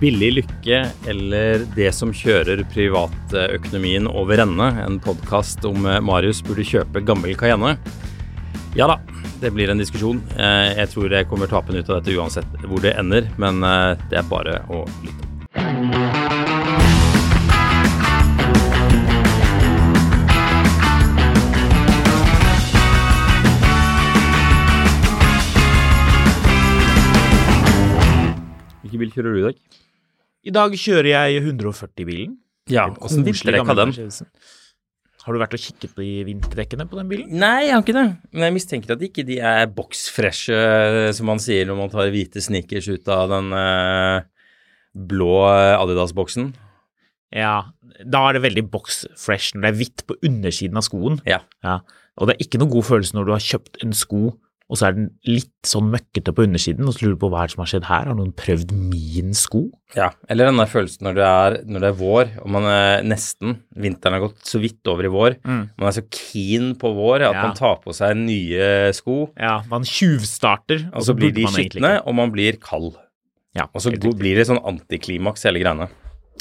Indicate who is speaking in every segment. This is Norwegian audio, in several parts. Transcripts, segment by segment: Speaker 1: Billig lykke eller Det som kjører privatøkonomien over ende, en podkast om eh, Marius burde kjøpe gammel Cayenne. Ja da, det blir en diskusjon. Eh, Jeg tror jeg kommer tapen ut av dette uansett hvor det ender, men eh, det er bare å lytte. Hvilken bil kjører du i dag?
Speaker 2: I dag kjører jeg 140-bilen.
Speaker 1: Ja,
Speaker 2: Den vintre
Speaker 1: Vinterrekk
Speaker 2: gamle
Speaker 1: av den.
Speaker 2: Mercedesen. Har du vært og kikket på de vinterdekkene på den bilen?
Speaker 1: Nei, jeg har ikke det. Men jeg mistenker at ikke de er boksfreshe, eh, som man sier når man tar hvite sneakers ut av den eh, blå eh, Adidas-boksen.
Speaker 2: Ja. Da er det veldig box fresh når det er hvitt på undersiden av skoen.
Speaker 1: Ja.
Speaker 2: Ja. Og det er ikke noe god følelse når du har kjøpt en sko, og så er den litt sånn møkkete på undersiden, og så lurer du på hva er det som har skjedd her. Har noen prøvd min sko?
Speaker 1: ja. Eller den der følelsen når det er, når det er vår, og man er nesten Vinteren har gått så vidt over i vår. Man er så keen på vår at
Speaker 2: Mm. Ja.
Speaker 1: man tar på seg nye sko,
Speaker 2: Ja, man tjuvstarter,
Speaker 1: og så blir
Speaker 2: Altså, burde
Speaker 1: de
Speaker 2: man egentlig
Speaker 1: skitne,
Speaker 2: ikke.
Speaker 1: og man blir kald.
Speaker 2: Ja,
Speaker 1: Og så
Speaker 2: helt
Speaker 1: go- blir det sånn antiklimaks, hele greiene.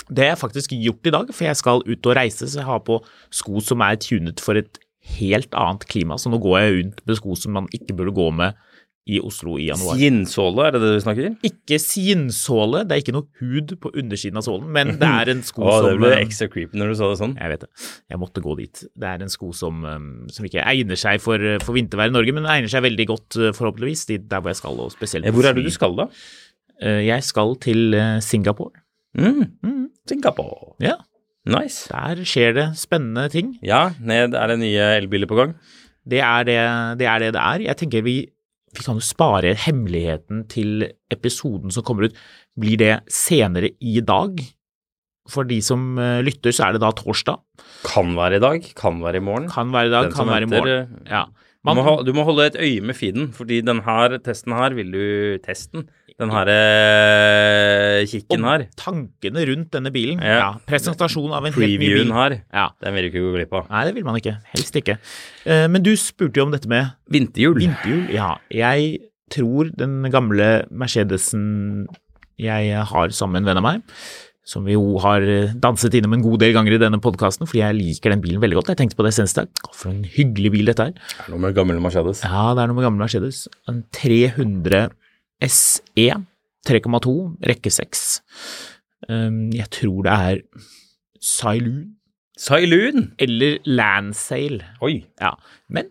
Speaker 2: Det har jeg faktisk gjort i dag, for jeg skal ut og reise, så jeg har på sko som er tunet for et helt annet klima. Så nå går jeg rundt med sko som man ikke burde gå med i Oslo i januar.
Speaker 1: Skinnsåle, er det det du snakker?
Speaker 2: Ikke sinsåle, det er ikke noe hud på undersiden av sålen, men det er en sko
Speaker 1: Å, det
Speaker 2: som
Speaker 1: ble
Speaker 2: eh,
Speaker 1: ekstra creepy når du sa det sånn.
Speaker 2: Jeg vet det, jeg måtte gå dit. Det er en sko som, eh, som ikke egner seg for, eh, for vintervær i Norge, men den egner seg veldig godt, eh, forhåpentligvis, dit der hvor jeg skal, og spesielt
Speaker 1: Eh, Hvor er det du skal, da?
Speaker 2: Eh, Jeg skal til eh, Singapore.
Speaker 1: Mm. Singapore.
Speaker 2: Ja,
Speaker 1: Nice.
Speaker 2: der skjer det spennende ting.
Speaker 1: Ja, ned er det nye elbiler på gang.
Speaker 2: Det er det det er. Det det er. Jeg tenker vi, vi kan jo spare hemmeligheten til episoden som kommer ut. Blir det senere i dag? For de som eh, lytter, så er det da torsdag.
Speaker 1: Kan være i dag, kan være i morgen.
Speaker 2: Kan være i dag,
Speaker 1: Den som
Speaker 2: kan være i
Speaker 1: venter,
Speaker 2: morgen.
Speaker 1: eh,
Speaker 2: Ja.
Speaker 1: Du,
Speaker 2: Man,
Speaker 1: må, ha- du må holde et øye med feeden, fordi den her testen her vil du Testen? Den her eh, kikken her,
Speaker 2: tankene rundt denne bilen.
Speaker 1: Ja.
Speaker 2: Ja. presentasjon av en helt ny
Speaker 1: previewen
Speaker 2: bil.
Speaker 1: her,
Speaker 2: Ja.
Speaker 1: den vil du ikke gå glipp av.
Speaker 2: Nei, det vil man ikke. Helst ikke. Eh, Men du spurte jo om dette med
Speaker 1: Vinterhjul.
Speaker 2: Vinterhjul, ja. Jeg tror den gamle Mercedesen jeg har sammen med en venn av meg, som vi jo har eh, danset innom en god del ganger i denne podkasten, fordi jeg liker den bilen veldig godt. Jeg tenkte på det senest i dag. Å, For en hyggelig bil dette er.
Speaker 1: Det er Noe med gammel Mercedes.
Speaker 2: Ja, det er noe med gamle Mercedes. En 300 SE 3,2, rekke 6. Jeg tror det er Sailoon
Speaker 1: Sailoon!
Speaker 2: eller Landsail.
Speaker 1: Oi.
Speaker 2: Ja, men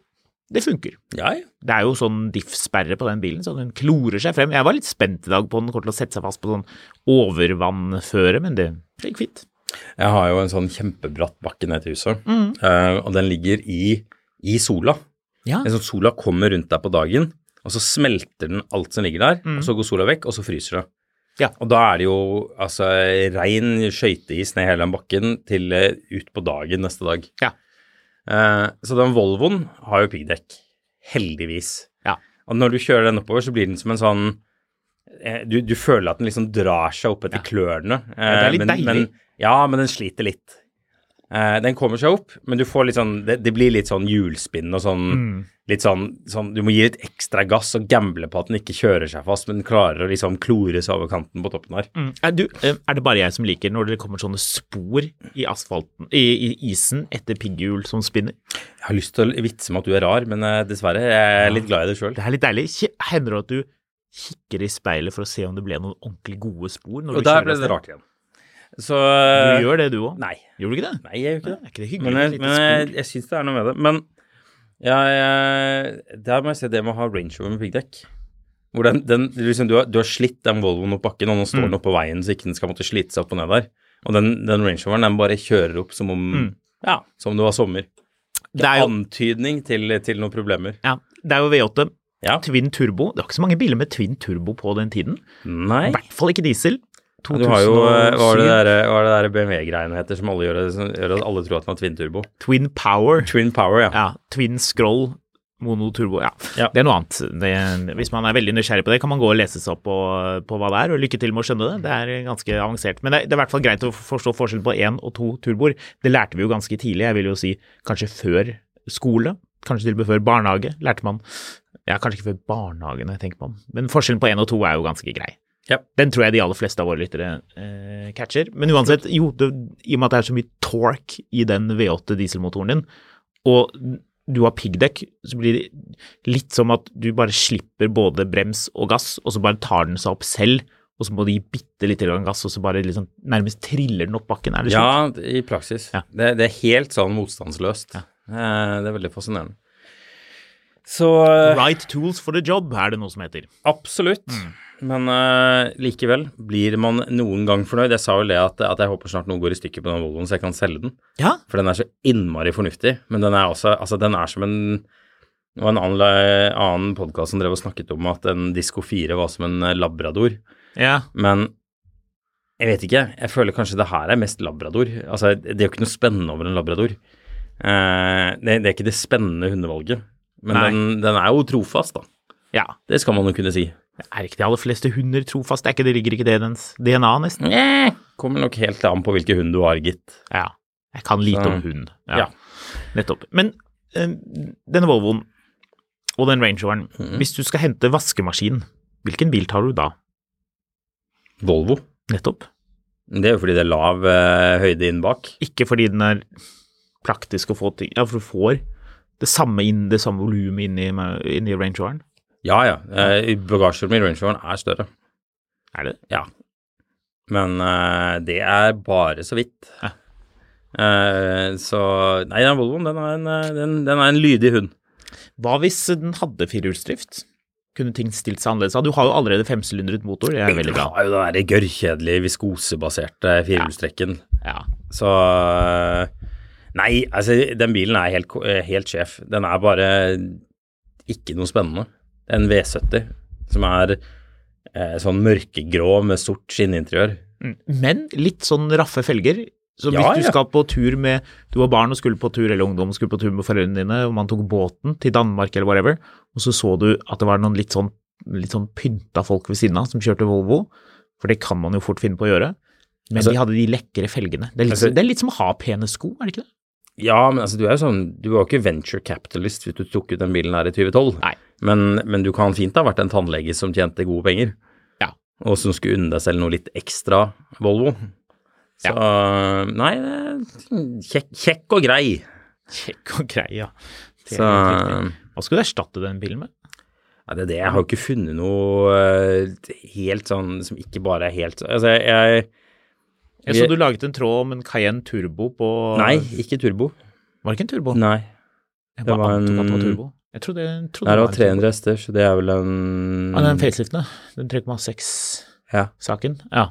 Speaker 2: det funker.
Speaker 1: Ja, ja.
Speaker 2: Det er jo sånn diff-sperre på den bilen, så den klorer seg frem. Jeg var litt spent i dag på den, kort til å sette seg fast på sånn overvannføre, men det det gikk fint.
Speaker 1: Jeg har jo en sånn kjempebratt bakke ned til huset, eh, og den ligger i, i sola.
Speaker 2: Ja.
Speaker 1: En sånn sola kommer rundt deg på dagen, og så smelter den alt som ligger der, og så går sola vekk, og så fryser det.
Speaker 2: Ja.
Speaker 1: Og da er det jo altså rein skøyteis ned hele den bakken til eh, ut på dagen neste dag.
Speaker 2: Ja.
Speaker 1: Eh, så den Volvoen har jo piggdekk, heldigvis.
Speaker 2: Ja.
Speaker 1: Og når du kjører den oppover, så blir den som en sånn eh, du, du føler at den liksom drar seg opp etter klørne.
Speaker 2: det er litt
Speaker 1: Eh,
Speaker 2: deilig.
Speaker 1: Men, ja, men den sliter litt. Eh, den kommer seg opp, men du får litt sånn Det, det blir litt sånn hjulspinn og sånn
Speaker 2: Mm.
Speaker 1: Litt sånn, sånn Du må gi litt ekstra gass og gamble på at den ikke kjører seg fast, men den klarer å liksom klore seg over kanten på toppen her.
Speaker 2: Mm. Er, du, eh, er det bare jeg som liker når det kommer sånne spor i asfalten, i, i isen etter pigghjul som spinner?
Speaker 1: Jeg har lyst til å vitse med at du er rar, men eh, dessverre, jeg er litt glad i det sjøl.
Speaker 2: Det er litt deilig. Kje- Hender det at du kikker i speilet for å se om det ble noen ordentlig gode spor? Når
Speaker 1: Og
Speaker 2: du
Speaker 1: der
Speaker 2: kjører
Speaker 1: ble
Speaker 2: av
Speaker 1: det
Speaker 2: sted?
Speaker 1: rart igjen. Så eh,
Speaker 2: Du gjør det, du òg?
Speaker 1: Nei.
Speaker 2: Gjorde du ikke det?
Speaker 1: Nei, jeg gjør ikke det.
Speaker 2: Er ikke det hyggelig
Speaker 1: Men
Speaker 2: med
Speaker 1: jeg,
Speaker 2: et
Speaker 1: men
Speaker 2: lite
Speaker 1: jeg,
Speaker 2: spor?
Speaker 1: jeg syns det er noe med det. Men jeg, jeg, der må jeg se det med å ha Range Rover med piggdekk. Hvor den, den, liksom, du, har, du har slitt den Volvoen opp bakken, og nå
Speaker 2: Mm.
Speaker 1: står den oppå veien så ikke den skal måtte slite seg opp og ned der. Og den, den Range Roveren den bare kjører opp som om ja, som om det var sommer.
Speaker 2: Mm. Det er jo,
Speaker 1: Antydning til, til noen problemer.
Speaker 2: ja, det er jo V8.
Speaker 1: Ja.
Speaker 2: Twin turbo. Det var ikke så mange biler med twin turbo på den tiden.
Speaker 1: Nei.
Speaker 2: I hvert fall ikke diesel.
Speaker 1: Du har jo eh, Hva er det
Speaker 2: 2007,
Speaker 1: der, hva er det der BMW-greiene heter som alle gjør, som gjør at alle tror at den har twin-turbo?
Speaker 2: Twin Power.
Speaker 1: Twin Power, ja.
Speaker 2: Ja, Twin Scroll monoturbo. Ja.
Speaker 1: Ja.
Speaker 2: det er noe annet. Det, hvis man er veldig nysgjerrig på det, kan man gå og lese seg opp på, på hva det er, og lykke til med å skjønne det. Det er ganske avansert. Men det, det er i hvert fall greit å forstå forskjellen på én og to turboer. Det lærte vi jo ganske tidlig, jeg vil jo si kanskje før skole, kanskje til og med før barnehage, lærte man. Ja, kanskje ikke før barnehagen, jeg tenker på den. Men forskjellen på én og to er jo ganske grei.
Speaker 1: Ja.
Speaker 2: Den tror jeg de aller fleste av våre lyttere eh, catcher. Men uansett, jo, det, i og med at det er så mye torque i den V8 dieselmotoren din, og du har piggdekk, så blir det litt som at du bare slipper både brems og gass, og så bare tar den seg opp selv, og så må du gi bitte lite grann gass, og så bare liksom nærmest triller den opp bakken. Er det slik?
Speaker 1: Ja, i praksis.
Speaker 2: Ja.
Speaker 1: Det, det er helt sånn motstandsløst. Eh, Det er veldig fascinerende. Så eh,
Speaker 2: sånn Right tools for the job, er det noe som heter.
Speaker 1: absolutt.
Speaker 2: Mm.
Speaker 1: Men eh, likevel, blir man noen gang fornøyd? Jeg sa jo det at, at jeg håper snart noen går i stykker på den Volvoen, så jeg kan selge den.
Speaker 2: Ja,
Speaker 1: For den er så innmari fornuftig. Men den er også Altså, den er som en Det var en annen, la- annen podkast som drev og snakket om at en Disko 4 var som en eh, labrador.
Speaker 2: ja.
Speaker 1: Men jeg vet ikke. Jeg føler kanskje det her er mest labrador. Altså, det er jo ikke noe spennende over en labrador. Eh, det, det er ikke det spennende hundevalget. Men
Speaker 2: Nei.
Speaker 1: den, den er jo trofast, da.
Speaker 2: ja.
Speaker 1: Det skal man jo kunne si.
Speaker 2: Er ikke de aller fleste hunder trofast? Er ikke det ligger ikke det i dens DNA, nesten?
Speaker 1: Nja, Eh, Kommer nok helt an på hvilken hund du har, gitt.
Speaker 2: Ja. Jeg kan lite
Speaker 1: Så-
Speaker 2: om hund.
Speaker 1: Ja.
Speaker 2: Nettopp. Men eh, denne Volvoen og den Range Roveren, hvis du skal hente vaskemaskin, hvilken bil tar du da?
Speaker 1: Volvo.
Speaker 2: Nettopp.
Speaker 1: Det er jo fordi det er lav eh, høyde inn bak.
Speaker 2: Ikke fordi den er praktisk å få ting Ja, for du får det samme, inn, det samme volumet inni, inni Range Roveren.
Speaker 1: Ja ja. Eh, bagasjerommet i Range Roveren er større.
Speaker 2: Er det det?
Speaker 1: Ja. Men eh, det er bare så vidt.
Speaker 2: Ja.
Speaker 1: Eh, så Nei, den Volvoen, den er en, eh, den, den er en lydig hund.
Speaker 2: Hva hvis den hadde firehjulsdrift? Kunne ting stilt seg annerledes? Ja, Du har jo allerede femsylindret motor, det er veldig bra.
Speaker 1: Du har jo den der gørrkjedelige viskosebaserte firehjulstrekken.
Speaker 2: Ja.
Speaker 1: Så eh, Nei, altså, den bilen er helt, ko- eh, helt sjef. Den er bare ikke noe spennende. Det er en V70 som er eh, sånn mørkegrå med sort skinninteriør.
Speaker 2: Mm. Men litt sånn raffe felger. Så hvis
Speaker 1: Ja,
Speaker 2: du
Speaker 1: ja.
Speaker 2: skal på tur med Du var barn og skulle på tur, eller ungdom og skulle på tur med foreldrene dine, og man tok båten til Danmark eller whatever, og så så du at det var noen litt sånn, litt sånn pynta folk ved siden av som kjørte Volvo, for det kan man jo fort finne på å gjøre. Men
Speaker 1: Altså-
Speaker 2: de hadde de lekre felgene. Det er, litt,
Speaker 1: Altså-
Speaker 2: det er litt som å ha pene sko, er det ikke det?
Speaker 1: Ja, men altså, du er jo sånn Du var jo ikke venture capitalist hvis du tok ut den bilen her i 2012.
Speaker 2: Nei.
Speaker 1: Men, men du kan fint ha vært en tannlege som tjente gode penger.
Speaker 2: Ja.
Speaker 1: Og som skulle unne deg selv noe litt ekstra Volvo. Så Nei, det er kjekk, kjekk og grei.
Speaker 2: Kjekk og grei, ja. Det er
Speaker 1: Så
Speaker 2: helt riktig.
Speaker 1: ja,
Speaker 2: Hva skulle du erstatte den bilen med?
Speaker 1: det er det. Jeg har jo ikke funnet noe eh, helt sånn som ikke bare er helt Altså, jeg
Speaker 2: Jeg så du laget en tråd om en Cayenne Turbo på
Speaker 1: Nei, ikke turbo.
Speaker 2: Var det ikke en turbo?
Speaker 1: Nei.
Speaker 2: Jeg
Speaker 1: det
Speaker 2: bare
Speaker 1: var
Speaker 2: antok at det var
Speaker 1: en-
Speaker 2: turbo. Jeg trodde, jeg trodde
Speaker 1: Det er
Speaker 2: det
Speaker 1: jo
Speaker 2: var en turbo.
Speaker 1: 300 hester, så det er vel en Mm.
Speaker 2: Ja, den faceliften, den 3,6-saken.
Speaker 1: Ja.
Speaker 2: Ja.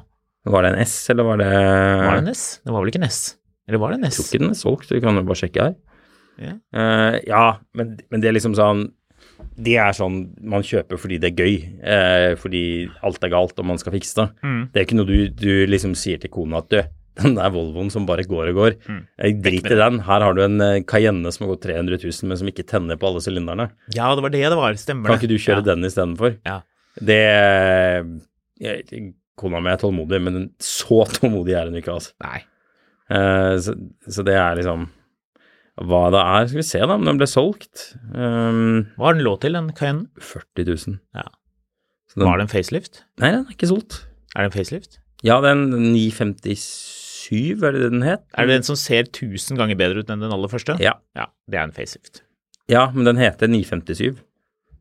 Speaker 1: Var det en S, eller var det
Speaker 2: Var det en S? Det var vel ikke en S? Eller var det en
Speaker 1: Jeg tror
Speaker 2: S?
Speaker 1: ikke den er solgt, vi kan jo bare sjekke her.
Speaker 2: Ja.
Speaker 1: Eh, ja, men, men det er liksom sånn Det er sånn man kjøper fordi det er gøy, eh, fordi alt er galt og man skal fikse det.
Speaker 2: Mm.
Speaker 1: Det er ikke noe du, du liksom sier til kona at du, den der Volvoen som bare går og går,
Speaker 2: Mm.
Speaker 1: eh, drit i den. Her har du en eh, Cayenne som har gått 300 000, men som ikke tenner på alle sylinderne.
Speaker 2: Ja, det var det det var. Stemmer
Speaker 1: Kan
Speaker 2: det.
Speaker 1: ikke du kjøre
Speaker 2: ja.
Speaker 1: den istedenfor?
Speaker 2: Ja.
Speaker 1: Det eh, jeg- Kona mi er tålmodig, men så tålmodig er hun ikke, altså.
Speaker 2: Nei.
Speaker 1: Eh, så, så det er liksom hva det er. Skal vi se da om den ble solgt. Ehm,
Speaker 2: Hva har den lå til, den Cayenne?
Speaker 1: 40 000.
Speaker 2: Ja.
Speaker 1: Så den,
Speaker 2: Var det en facelift?
Speaker 1: Nei, den er ikke solgt.
Speaker 2: Er det en facelift?
Speaker 1: Ja, den 957, er det det den het?
Speaker 2: Er det den som ser 1000 ganger bedre ut enn den aller første?
Speaker 1: Ja.
Speaker 2: det er en facelift.
Speaker 1: ja, men den heter 957.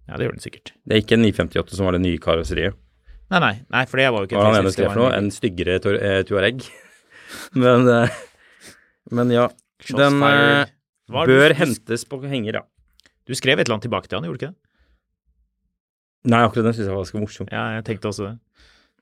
Speaker 2: Ja, det gjør den sikkert.
Speaker 1: Det er ikke en 958 som var det nye karosseriet.
Speaker 2: Nei, nei, nei, for det var
Speaker 1: Hva
Speaker 2: jo ikke
Speaker 1: var
Speaker 2: en
Speaker 1: det han ene
Speaker 2: facelift.
Speaker 1: skrev for noe?
Speaker 2: en
Speaker 1: En styggere tor- eh, Tuareg. men, eh, men ja,
Speaker 2: Shots
Speaker 1: den eh,
Speaker 2: fired. Hva har du-
Speaker 1: bør
Speaker 2: du-
Speaker 1: hentes på henger, ja.
Speaker 2: Du skrev et eller annet tilbake til han, gjorde du ikke det?
Speaker 1: Nei, akkurat den syns jeg var ganske morsom.
Speaker 2: Ja, jeg tenkte også det.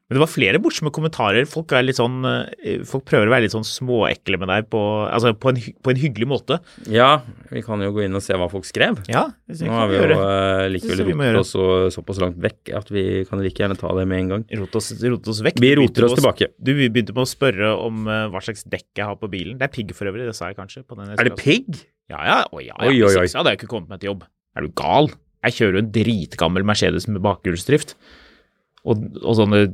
Speaker 2: Men det var flere morsomme kommentarer. Folk, er litt sånn, eh, folk prøver å være litt sånn småekle med deg på, altså på, en, hy- på en hyggelig måte.
Speaker 1: Ja, vi kan jo gå inn og se hva folk skrev.
Speaker 2: Ja, det
Speaker 1: Nå
Speaker 2: kan
Speaker 1: har vi
Speaker 2: vi
Speaker 1: jo
Speaker 2: gjøre.
Speaker 1: eh,
Speaker 2: Det
Speaker 1: likevel
Speaker 2: synes jeg vi må
Speaker 1: rotet
Speaker 2: gjøre.
Speaker 1: oss så, såpass langt vekk at vi kan like gjerne ta det med en gang.
Speaker 2: Rote oss, rote oss vekk.
Speaker 1: Vi
Speaker 2: Du begynte
Speaker 1: roter oss
Speaker 2: med å-
Speaker 1: tilbake.
Speaker 2: Du begynte med å spørre om eh, hva slags dekk jeg har på bilen. Det er pigg for øvrig, det sa jeg kanskje. På den
Speaker 1: Er det pigg?
Speaker 2: Ja, ja. Oi, ja, ja.
Speaker 1: Oi, oi, oi.
Speaker 2: Hvis ikke så hadde jeg ikke kommet meg til jobb. Er du gal? Jeg kjører jo en dritgammel Mercedes med bakhjulsdrift. Og, og sånne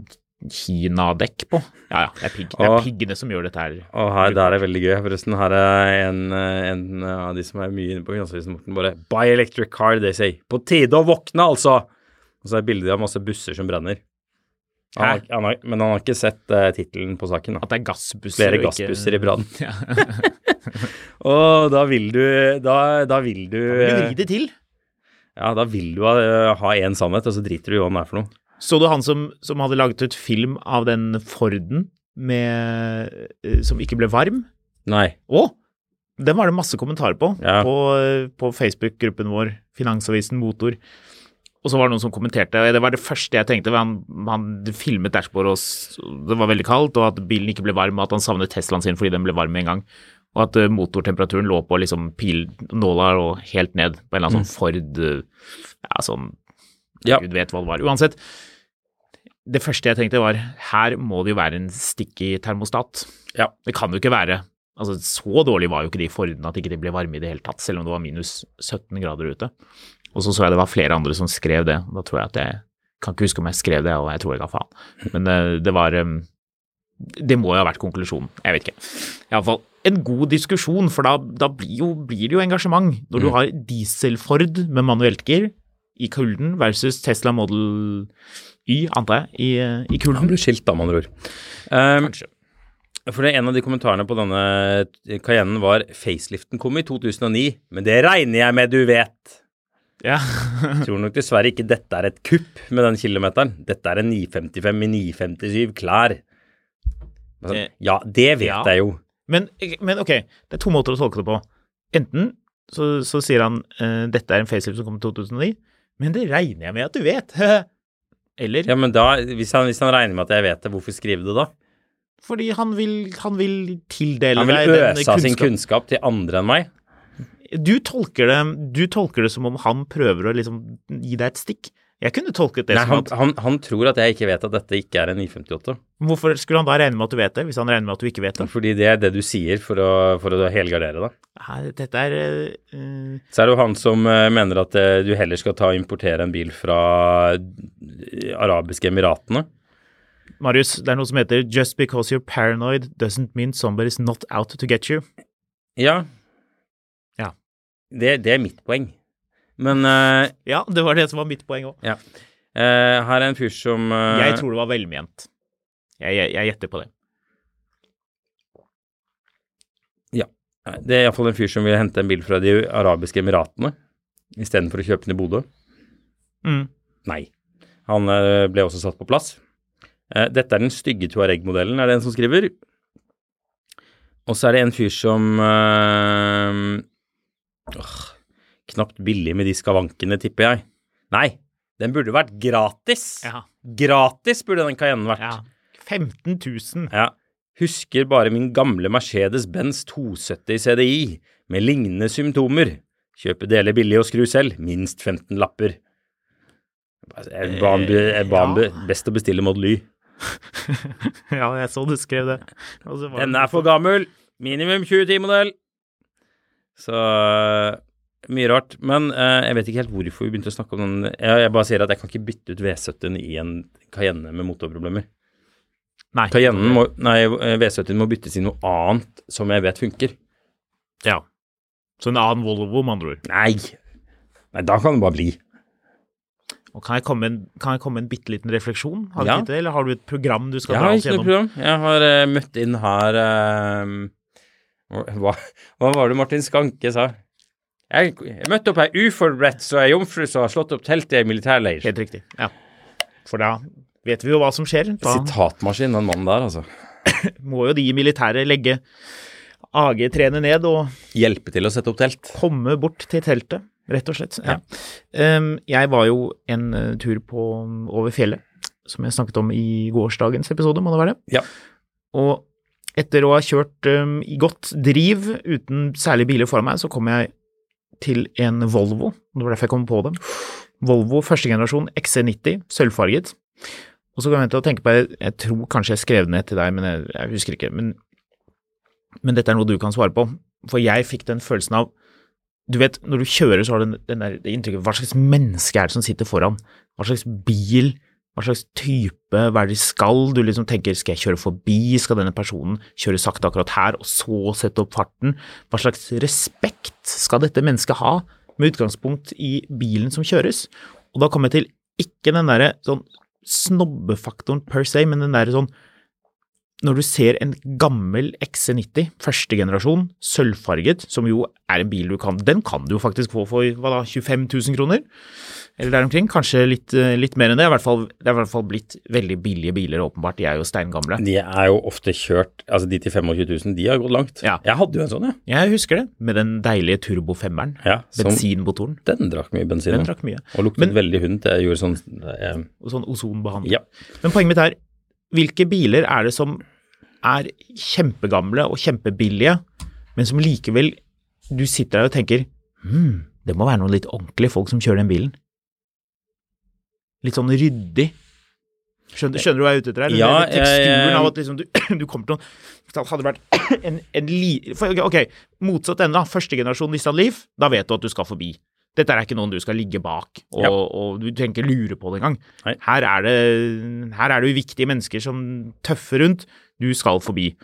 Speaker 2: Kina-dekk på. Ja, ja. Det er, pigg. det er
Speaker 1: Å.
Speaker 2: piggene som gjør dette her.
Speaker 1: Og her, der er veldig gøy, forresten. Her er en, eh, en av de som er mye inne på Finansavisen, Morten, bare Buy electric car, they say. På tide å våkne, altså! Og så er bildet av masse busser som brenner. Han har, han har, men han har ikke sett uh, tittelen på saken. da.
Speaker 2: At det er gassbusser.
Speaker 1: Flere
Speaker 2: og ikke-
Speaker 1: gassbusser i brannen. og da vil du Da, da vil du
Speaker 2: Du
Speaker 1: eh,
Speaker 2: vrir det til.
Speaker 1: Ja, da vil du eh, ha én sannhet, og så driter du i hva den er for noe.
Speaker 2: Så du han som, som hadde laget ut film av den Forden med, eh, som ikke ble varm?
Speaker 1: Nei.
Speaker 2: Å! Den var det masse kommentarer på
Speaker 1: Ja.
Speaker 2: på, eh, på Facebook-gruppen vår, Finansavisen Motor. Og så var det noen som kommenterte, og det var det første jeg tenkte. for Han, han filmet dashbordet, og s- det var veldig kaldt, og at bilen ikke ble varm, og at han savnet Teslaen sin fordi den ble varm med en gang. Og at eh, motortemperaturen lå på liksom pilnåla og helt ned på en eller annen sånn Ford eh, ja, sånn
Speaker 1: Ja.
Speaker 2: Gud vet hva det var. Uansett, det første jeg tenkte var her må det jo være en stikkig termostat.
Speaker 1: Ja.
Speaker 2: Det kan jo ikke være Altså, så dårlig var jo ikke de Fordene at ikke de ble varme i det hele tatt, selv om det var minus 17 grader ute. Og så så jeg det var flere andre som skrev det. Da tror jeg at jeg kan ikke huske om jeg skrev det, og jeg tror jeg ga faen. Men eh, det var eh, Det må jo ha vært konklusjonen. Jeg vet ikke. Iallfall en god diskusjon, for da, da blir, jo, blir det jo engasjement. Når du har diesel-Ford med manuelt gir i kulden versus Tesla Model Y, antar jeg, i, eh, i
Speaker 1: Han
Speaker 2: kulden.
Speaker 1: ble skilt, da, med andre ord. Ehm,
Speaker 2: Kanskje.
Speaker 1: for det, En av de kommentarene på denne Cayennen var faceliften kom i 2009, men det regner jeg med du vet.
Speaker 2: Ja.
Speaker 1: Tror nok dessverre ikke dette er et kupp med den kilometeren. Dette er en 955 i 957 klær. Men
Speaker 2: Eh,
Speaker 1: Sånn, ja, det vet
Speaker 2: ja.
Speaker 1: jeg jo.
Speaker 2: Men, men ok, det er to måter å tolke det på. Enten så, så sier han eh, dette er en facelift som kom i 2009, men det regner jeg med at du vet. Eller
Speaker 1: Ja, men da, hvis han, hvis han regner med at jeg vet det, hvorfor skrive det da?
Speaker 2: fordi han vil, han vil tildele
Speaker 1: Han vil
Speaker 2: deg den
Speaker 1: øse av sin kunnskap til andre enn meg.
Speaker 2: Du tolker, det, du tolker det som om han prøver å liksom gi deg et stikk. Jeg kunne tolket det
Speaker 1: Nei,
Speaker 2: som
Speaker 1: han,
Speaker 2: at
Speaker 1: han, han tror at jeg ikke vet at dette ikke er en 958.
Speaker 2: Hvorfor skulle han da regne med at du vet det, hvis han regner med at du ikke vet det?
Speaker 1: Fordi det er det du sier for å, for å helgardere deg.
Speaker 2: Nei, dette er eh, eh,
Speaker 1: Så er det jo han som eh, mener at eh, du heller skal ta og importere en bil fra eh, arabiske emiratene.
Speaker 2: Marius, det er noe som heter 'Just because you're paranoid doesn't mean somebody's not out to get you'.
Speaker 1: Ja.
Speaker 2: Ja.
Speaker 1: Det, det er mitt poeng. Men eh,
Speaker 2: Ja, det var det som var mitt poeng òg.
Speaker 1: eh, her er en fyr som eh,
Speaker 2: Jeg tror det var velment. Jeg, jeg, jeg gjetter på det.
Speaker 1: Det er iallfall en fyr som vil hente en bil fra de arabiske emiratene istedenfor å kjøpe den i Bodø.
Speaker 2: Mm.
Speaker 1: Nei. Han eh, ble også satt på plass. Eh, Dette er den stygge Tuareg-modellen, er det en som skriver. Og så er det en fyr som eh, åh, Knapt billig med de skavankene, tipper jeg. Nei, den burde vært gratis.
Speaker 2: Ja.
Speaker 1: Gratis burde den Cayennen vært.
Speaker 2: ja. 15 000.
Speaker 1: Ja. Husker bare min gamle Mercedes-Benz 270 CDI med lignende symptomer. Kjøpe deler billig og skru selv. Minst 15 lapper. Jeg ba han,
Speaker 2: Eh,
Speaker 1: be- jeg ba han be, best å bestille Model Y.
Speaker 2: ja, jeg så du skrev det. Og så var det-
Speaker 1: Denne er for gammel! Minimum 2010-modell! Så eh, mye rart. Men eh, jeg vet ikke helt hvorfor vi begynte å snakke om den. Jeg, jeg bare sier at jeg kan ikke bytte ut V70 i en Cayenne med motorproblemer.
Speaker 2: Nei.
Speaker 1: Cayennen må, nei, V70 må byttes i noe annet som jeg vet funker.
Speaker 2: Ja. Så en annen Volvo, med andre ord.
Speaker 1: Nei. Nei, da kan det bare bli.
Speaker 2: Og kan jeg komme med en, kan jeg komme med en bitte liten refleksjon? Har du
Speaker 1: Ja.
Speaker 2: ikke det, eller har du et program du skal
Speaker 1: Jeg
Speaker 2: dra
Speaker 1: har
Speaker 2: oss
Speaker 1: ikke noe
Speaker 2: gjennom?
Speaker 1: program. Jeg har eh, møtt inn her eh, hva, hva var det Martin Skanke sa? Jeg, jeg møtte opp her uforberedt, så jeg er jomfru som har slått opp teltet i en militærleir.
Speaker 2: Helt riktig. Ja. For da vet vi jo hva som skjer. Da
Speaker 1: Sitatmaskin, den mannen der, altså.
Speaker 2: må jo de i militæret legge AG-trene ned og
Speaker 1: Hjelpe til å sette opp telt.
Speaker 2: komme bort til teltet, rett og slett. Ja. Ehm, jeg var jo en eh, tur på, over fjellet, som jeg snakket om i gårsdagens episode, må det være det.
Speaker 1: Ja.
Speaker 2: Og etter å ha kjørt ehm, i godt driv uten særlig biler foran meg, så kom jeg til en Volvo. Det var derfor jeg kom på det. Volvo første generasjon XC90, sølvfarget. Og så kom jeg til å tenke på, jeg, jeg tror kanskje jeg skrev det ned til deg, men jeg, jeg husker ikke. Men, men dette er noe du kan svare på. For jeg fikk den følelsen av du vet, når du kjører, så har du den, den der, det inntrykket Hva slags menneske er det som sitter foran? Hva slags bil? Hva slags type? Hva er det de skal? Du liksom tenker skal jeg kjøre forbi? Skal denne personen kjøre sakte akkurat her, og så sette opp farten? Hva slags respekt skal dette mennesket ha, med utgangspunkt i bilen som kjøres? Og da kommer jeg til ikke den derre sånn snobbefaktoren per se, men den der sånn Når du ser en gammel XC90, første generasjon, sølvfarget, som jo er en bil du kan Den kan du jo faktisk få for hva da, 25 000 kroner? Eller der omkring. Kanskje litt, eh, litt mer enn det. I hvert fall, det er i hvert fall blitt veldig billige biler, åpenbart. De er jo steingamle.
Speaker 1: De er jo ofte kjørt Altså, de til 25 000, de har gått langt.
Speaker 2: Ja.
Speaker 1: Jeg hadde jo en sånn, jeg.
Speaker 2: Jeg husker det, med den deilige turbofemmeren.
Speaker 1: Ja, som-
Speaker 2: Bensinmotoren.
Speaker 1: Den drakk mye bensin.
Speaker 2: Den
Speaker 1: ja.
Speaker 2: trakk mye.
Speaker 1: Og luktet
Speaker 2: Men-
Speaker 1: veldig hund. Jeg gjorde sånn eh,
Speaker 2: Og sånn ozonbehandling.
Speaker 1: Ja.
Speaker 2: Men poenget mitt er, hvilke biler er det som er kjempegamle og kjempebillige, men som likevel du sitter der og tenker hm, det må være noen litt ordentlige folk som kjører den bilen. Litt sånn ryddig. Skjønner, skjønner du hva jeg er ute etter her? Den
Speaker 1: Ja,
Speaker 2: der teksturen
Speaker 1: jeg- jeg-
Speaker 2: av at liksom du, du kommer til noen Hadde det vært en, en li... For, ok, ok, motsatt ende, da. Første generasjon Nissan Leaf, da vet du at du skal forbi. Dette er ikke noen du skal ligge bak og,
Speaker 1: Ja.
Speaker 2: og du trenger ikke lure på det engang.
Speaker 1: Nei.
Speaker 2: Her er det, her er det uviktige mennesker som tøffer rundt. Du skal forbi.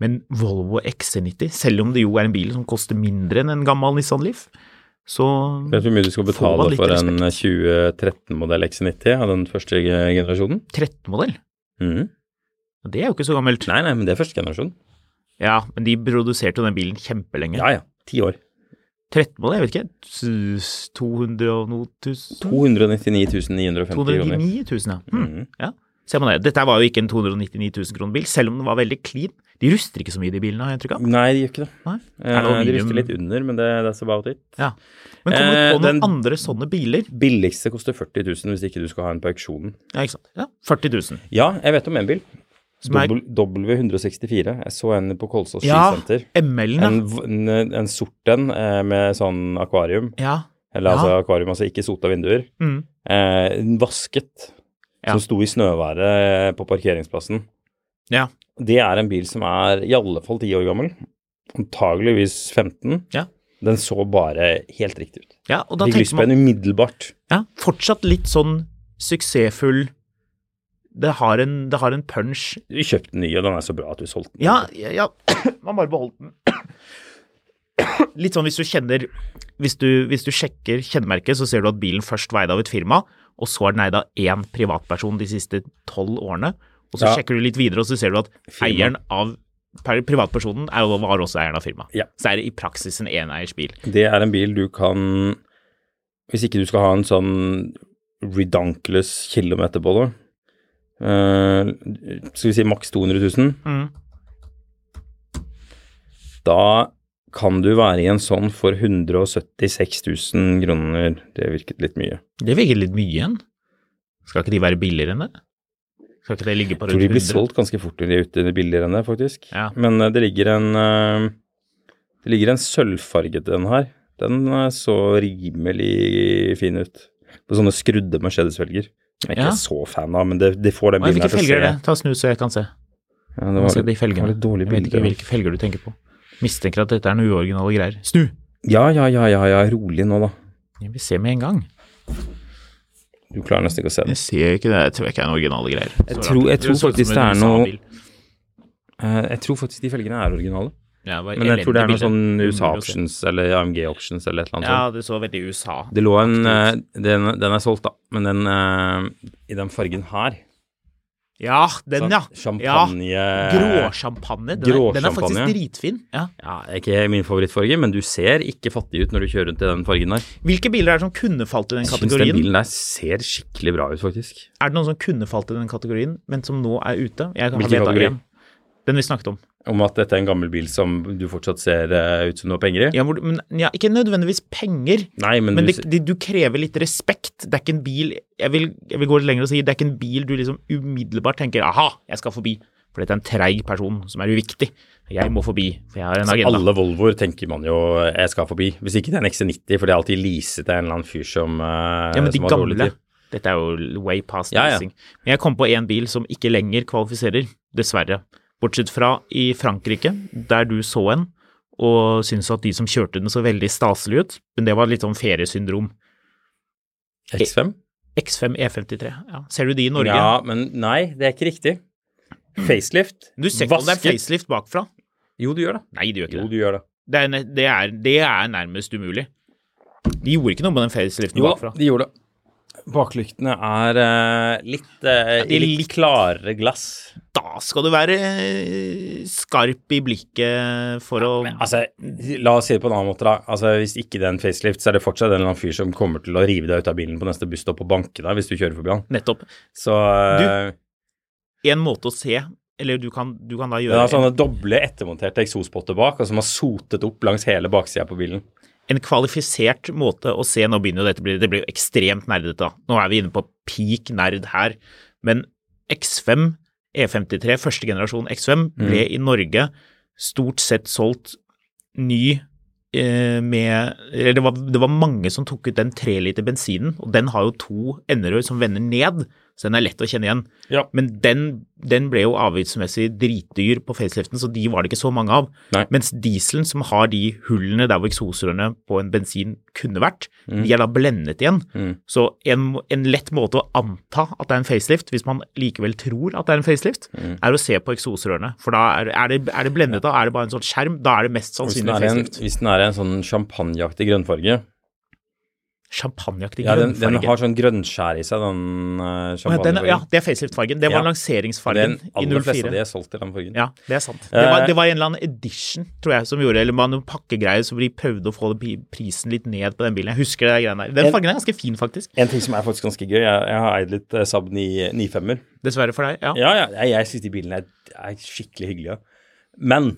Speaker 2: Men Volvo XC90, selv om det jo er en bil som koster mindre enn en gammel Nissan Leaf, så
Speaker 1: Vet du hvor mye du skal
Speaker 2: Får man
Speaker 1: betale
Speaker 2: litt
Speaker 1: for en 2013-modell XC90 av den første ge- generasjonen?
Speaker 2: 13-modell,
Speaker 1: Mhm.
Speaker 2: det er jo ikke så gammelt.
Speaker 1: Nei, nei, men det er første generasjon.
Speaker 2: Ja, men de produserte jo den bilen kjempelenge.
Speaker 1: Ja ja, ti år.
Speaker 2: 13-modell, jeg vet ikke, s- 200 og noe tusen?
Speaker 1: 299 950 kroner.
Speaker 2: 299 000, ja. Hmm.
Speaker 1: Mhm.
Speaker 2: Ja, ser man det. Dette var jo ikke en 299 000 kroner bil, selv om den var veldig clean. De ruster ikke så mye, de bilene, har jeg inntrykk av.
Speaker 1: Nei, de gjør ikke det.
Speaker 2: Nei. Er
Speaker 1: Eh,
Speaker 2: det
Speaker 1: de
Speaker 2: aluminium?
Speaker 1: ryster litt under, men det, that's about it.
Speaker 2: Ja. Men kommer du
Speaker 1: Eh,
Speaker 2: på noen
Speaker 1: den-
Speaker 2: andre sånne biler?
Speaker 1: Billigste koster 40 000 hvis ikke du skal ha en på auksjonen.
Speaker 2: Ja, ikke sant. Ja, 40 000.
Speaker 1: Ja, jeg vet om en bil.
Speaker 2: Som er-
Speaker 1: Dobbel- W164. Jeg så en på Kolsås
Speaker 2: Ja,
Speaker 1: skisenter.
Speaker 2: ML-en,
Speaker 1: En, v- en, en sort en eh, med sånn akvarium.
Speaker 2: ja.
Speaker 1: Eller
Speaker 2: Ja.
Speaker 1: altså akvarium, altså ikke sota vinduer.
Speaker 2: Ja. Mm.
Speaker 1: Eh, en vasket.
Speaker 2: Ja.
Speaker 1: Som sto i snøværet eh, på parkeringsplassen.
Speaker 2: ja.
Speaker 1: Det er en bil som er i alle fall 10 år gammel. Antageligvis 15.
Speaker 2: Ja.
Speaker 1: Den så bare helt riktig ut.
Speaker 2: Ja, og da
Speaker 1: Fikk
Speaker 2: tenker
Speaker 1: lyst på
Speaker 2: man
Speaker 1: en umiddelbart.
Speaker 2: ja, fortsatt litt sånn suksessfull det har, en, det har en punch.
Speaker 1: Vi kjøpte den ny, og den er så bra at vi solgte den.
Speaker 2: Ja, ja, ja. man bare beholdt den. Litt sånn hvis du kjenner hvis du, hvis du sjekker kjennemerket, så ser du at bilen først var eid av et firma, og så er den eid av én privatperson de siste tolv årene. Og så
Speaker 1: Ja.
Speaker 2: sjekker du litt videre, og så ser du at
Speaker 1: Firma.
Speaker 2: eieren av per- privatpersonen er, var også eieren av firmaet.
Speaker 1: Ja.
Speaker 2: Så er det i praksis en eneiers bil.
Speaker 1: Det er en bil du kan Hvis ikke du skal ha en sånn redonkulous kilometer på det eh, Skal vi si maks 200 000? Da kan du være i en sånn for 176 000 kroner. Det virket litt mye.
Speaker 2: Det virker litt mye igjen. Skal ikke de være billigere enn det? Skal ikke det ligge på
Speaker 1: Jeg tror
Speaker 2: rundt
Speaker 1: de blir
Speaker 2: 100?
Speaker 1: solgt ganske fort når de er ute billigere enn det, faktisk.
Speaker 2: Ja.
Speaker 1: Men eh, det ligger en eh, Det ligger en sølvfarget en her. Den eh, så rimelig fin ut. På sånne skrudde Mercedes-felger. Som jeg ikke
Speaker 2: Ja.
Speaker 1: er så fan av, men det, det får den
Speaker 2: Å,
Speaker 1: bilen her
Speaker 2: Hvilke
Speaker 1: til å
Speaker 2: felger
Speaker 1: se
Speaker 2: er det? Ta snu så jeg kan se.
Speaker 1: Ja, det
Speaker 2: Nå
Speaker 1: var,
Speaker 2: ser de
Speaker 1: litt, det
Speaker 2: felgene.
Speaker 1: var litt altså. dårlig
Speaker 2: Jeg vet
Speaker 1: bilde.
Speaker 2: ikke hvilke felger du tenker på. Mistenker at dette er noe uoriginale greier. Snu!
Speaker 1: Ja, ja, ja, ja, ja, rolig nå, da.
Speaker 2: Jeg vil se med en gang.
Speaker 1: Du klarer nesten ikke å se den.
Speaker 2: Jeg ser ikke det. Jeg tror ikke det er noen originale greier. Så rart.
Speaker 1: tror- jeg
Speaker 2: Det
Speaker 1: tror
Speaker 2: så ut
Speaker 1: faktisk
Speaker 2: som en
Speaker 1: det er noe-
Speaker 2: USA-bil.
Speaker 1: Eh, Jeg tror faktisk de felgene er originale.
Speaker 2: Ja, det var
Speaker 1: Men jeg tror det er noe
Speaker 2: elendig
Speaker 1: sånn
Speaker 2: bilde.
Speaker 1: USA
Speaker 2: Umulig å se.
Speaker 1: Auctions eller AMG Auctions eller et eller annet
Speaker 2: Ja,
Speaker 1: sånt.
Speaker 2: det så veldig USA.
Speaker 1: Det lå en eh, den, den er solgt, da. Men den eh, i den fargen her
Speaker 2: Ja, den,
Speaker 1: sånn
Speaker 2: ja.
Speaker 1: Champagne
Speaker 2: Ja. Gråsjampanje. Den, er- den er faktisk
Speaker 1: Gråsjampanje.
Speaker 2: dritfin. Ja.
Speaker 1: Ja, ikke min favorittfarge, men du ser ikke fattig ut når du kjører rundt i den fargen der.
Speaker 2: Hvilke biler er det som kunne falt i den
Speaker 1: Jeg syns den
Speaker 2: kategorien?
Speaker 1: bilen der ser skikkelig bra ut, faktisk.
Speaker 2: Er det noen som kunne falt i den kategorien, men som nå er ute? Jeg
Speaker 1: Hvilken
Speaker 2: har vedtak
Speaker 1: kategori?
Speaker 2: igjen. Den vi snakket om.
Speaker 1: Om at dette er en gammel bil som du fortsatt ser eh, ut som du har penger i.
Speaker 2: Ja, hvor, men, ja, ikke nødvendigvis penger.
Speaker 1: Nei, men, du,
Speaker 2: Men det,
Speaker 1: ser-
Speaker 2: det, du krever litt respekt. Det er ikke en bil jeg vil, jeg vil gå litt lenger og si det er ikke en bil du liksom umiddelbart tenker 'aha, jeg skal forbi', for dette er en treig person som er uviktig. Jeg må forbi, for jeg har en agenda.
Speaker 1: alle Volvoer tenker man jo jeg skal forbi. Hvis ikke det er en XC90, for det er alltid leaset av en eller annen fyr som, eh,
Speaker 2: ja, men de
Speaker 1: som har dårlig
Speaker 2: gamle
Speaker 1: tid.
Speaker 2: Dette er jo way past
Speaker 1: Ja, ja.
Speaker 2: racing. Men jeg kom på en bil som ikke lenger kvalifiserer, dessverre. Bortsett fra i Frankrike, der du så en og syntes at de som kjørte den så veldig staselig ut, men det var litt sånn feriesyndrom.
Speaker 1: X5?
Speaker 2: X5 E53, ja. ser du de i Norge?
Speaker 1: Ja, men nei, det er ikke riktig. Facelift.
Speaker 2: Du ser ikke om det er facelift bakfra?
Speaker 1: Jo, du gjør det.
Speaker 2: Nei, det gjør ikke
Speaker 1: Jo,
Speaker 2: det.
Speaker 1: du gjør det.
Speaker 2: Det er, ne- det, er, det er nærmest umulig. De gjorde ikke noe med den faceliften
Speaker 1: Jo,
Speaker 2: bakfra.
Speaker 1: de gjorde det. Baklyktene er eh, litt, eh,
Speaker 2: de er
Speaker 1: i litt klarere glass.
Speaker 2: Da skal du være eh, skarp i blikket for å
Speaker 1: Altså, la oss si det på en annen måte, da. Altså, hvis ikke det er en facelift, så er det fortsatt en eller annen fyr som kommer til å rive deg ut av bilen på neste busstopp og banke deg hvis du kjører forbi han.
Speaker 2: Nettopp.
Speaker 1: Så eh,
Speaker 2: En måte å se Eller du kan, du kan da
Speaker 1: det
Speaker 2: gjøre
Speaker 1: er sånne doble ettermonterte eksospotter bak, og som har sotet opp langs hele baksida på bilen.
Speaker 2: en, en kvalifisert måte å se Nå begynner jo dette å bli- Det blir jo ekstremt nerdete, da. Nå er vi inne på peak nerd her. Men X5, E53, første generasjon X5, ble i Norge stort sett solgt ny eh, med Eller det var, det var mange som tok ut den 3 liter bensinen, og den har jo to enderør som vender ned, så den er lett å kjenne igjen.
Speaker 1: Ja.
Speaker 2: Men den, den ble jo avgiftsmessig dritdyr på faceliften, så de var det ikke så mange av.
Speaker 1: Nei.
Speaker 2: Mens dieselen, som har de hullene der hvor eksosrørene på en bensin kunne vært,
Speaker 1: Mm.
Speaker 2: de er da blendet igjen. Så en, en lett måte å anta at det er en facelift, hvis man likevel tror at det er en facelift,
Speaker 1: Mm.
Speaker 2: er å se på eksosrørene. For da er, er, det, er det blendet, da er det bare en sånn skjerm, da er det mest
Speaker 1: Hvis den,
Speaker 2: sannsynlig
Speaker 1: er en,
Speaker 2: facelift.
Speaker 1: hvis den er en sånn champagneaktig grønnfarge
Speaker 2: Champagneaktig
Speaker 1: Ja, den, den
Speaker 2: grønnfarge.
Speaker 1: har sånn grønnskjær i seg, den uh,
Speaker 2: Å ja, den,
Speaker 1: champagnefargen.
Speaker 2: ja, det er facelift-fargen. Det var
Speaker 1: Ja. Den
Speaker 2: lanseringsfargen i
Speaker 1: aller fleste
Speaker 2: 04.
Speaker 1: av de er solgt i den fargen.
Speaker 2: Ja, det er sant. Det var,
Speaker 1: Eh,
Speaker 2: det var en eller annen edition, tror jeg, som gjorde Eller man noen pakkegreier som de prøvde å få den pi- prisen litt ned på den bilen. Jeg husker det greiene der. Den
Speaker 1: En-
Speaker 2: fargen er ganske fin, faktisk.
Speaker 1: En ting som er faktisk ganske gøy, jeg, jeg har eid litt eh, Saab 9 95-er.
Speaker 2: Dessverre for deg. Ja.
Speaker 1: Ja, ja, jeg, jeg syns de bilene er, er skikkelig hyggelige. Men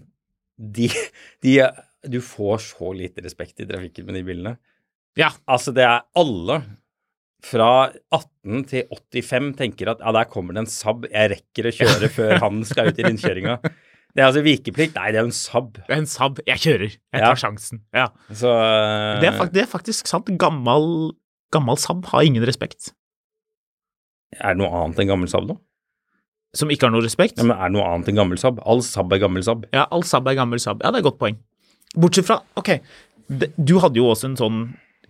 Speaker 1: de, de Du får så lite respekt i trafikken med de bilene.
Speaker 2: Ja.
Speaker 1: Altså, det er alle fra 18 til 85 tenker at ja, der kommer det en Saab, jeg rekker å kjøre før han skal ut i rundkjøringa. Det er altså vikeplikt. Nei, det er jo en Saab.
Speaker 2: Det er En Saab. Jeg kjører. Jeg
Speaker 1: Ja.
Speaker 2: tar sjansen. Ja.
Speaker 1: Så eh,
Speaker 2: Det er, fak- det er faktisk sant. Gammal, gammal Saab har ingen respekt.
Speaker 1: er det noe annet enn gammel Saab nå?
Speaker 2: Som ikke har noe respekt.
Speaker 1: Ja, men er det noe annet enn gammel Saab? All Saab er gammel Saab.
Speaker 2: Ja, all Saab er gammel Saab. Ja, det er et godt poeng. Bortsett fra Ok, d- du hadde jo også en sånn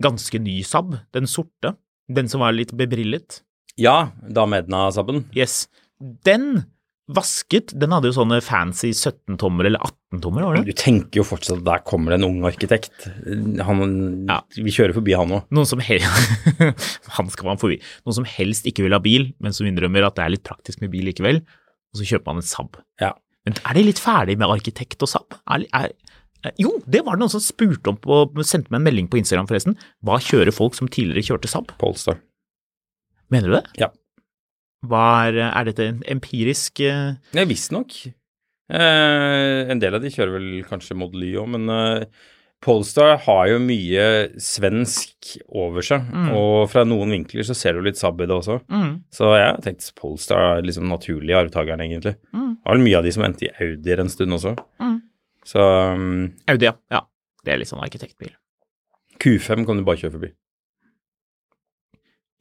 Speaker 2: ganske ny Saab. Den sorte. Den som var litt bebrillet.
Speaker 1: Ja, da med den av Saaben.
Speaker 2: Yes. Den vasket, den hadde jo sånne fancy 17-tommer eller 18-tommer, var
Speaker 1: Men
Speaker 2: det?
Speaker 1: Du tenker jo fortsatt at der kommer det en ung arkitekt. Han,
Speaker 2: Ja.
Speaker 1: Vi kjører forbi han òg.
Speaker 2: Noen som, hel han skal man forbi. Noen som helst ikke vil ha bil, men som innrømmer at det er litt praktisk med bil likevel, og så kjøper man en Saab.
Speaker 1: Ja.
Speaker 2: Men er de litt ferdig med arkitekt og Saab? Er, er, er, jo, det var det noen som spurte om på, sendte meg en melding på Instagram forresten. Hva kjører folk som tidligere kjørte Saab?
Speaker 1: Polestar.
Speaker 2: Mener du det?
Speaker 1: Ja.
Speaker 2: Hva er, er dette en empirisk eh,
Speaker 1: Ja, visstnok. Eh, en del av de kjører vel kanskje Model Y òg, men eh, Polestar har jo mye svensk over seg.
Speaker 2: Mm.
Speaker 1: Og fra noen vinkler så ser du litt Saab i det også.
Speaker 2: mm,
Speaker 1: Så jeg har tenkt Polestar er liksom naturlig arvtakeren, egentlig.
Speaker 2: Mm.
Speaker 1: Det var vel mye av de som endte i Audier en stund også.
Speaker 2: Mm.
Speaker 1: Så um,
Speaker 2: Audi, ja. ja. Det er litt sånn arkitektbil.
Speaker 1: Q5 kan du bare kjøre forbi.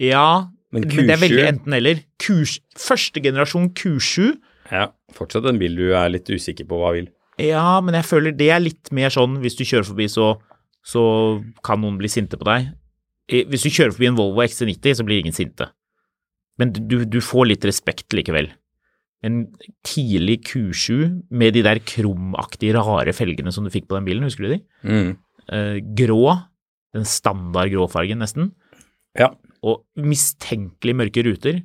Speaker 2: Ja,
Speaker 1: Men
Speaker 2: Men det er veldig
Speaker 1: Q7
Speaker 2: enten-eller. Kurs- Første generasjon Q7,
Speaker 1: ja, Fortsatt en bil du er litt usikker på hva vil.
Speaker 2: ja, men jeg føler det er litt mer sånn hvis du kjører forbi, så, så kan noen bli sinte på deg. Eh, Hvis du kjører forbi en Volvo XC90, så blir ingen sinte. Men du, du får litt respekt likevel. En tidlig Q7 med de der krumaktige, rare felgene som du fikk på den bilen, husker du de?
Speaker 1: Mm.
Speaker 2: Eh, grå, den standard gråfargen nesten,
Speaker 1: Ja.
Speaker 2: og mistenkelig mørke ruter,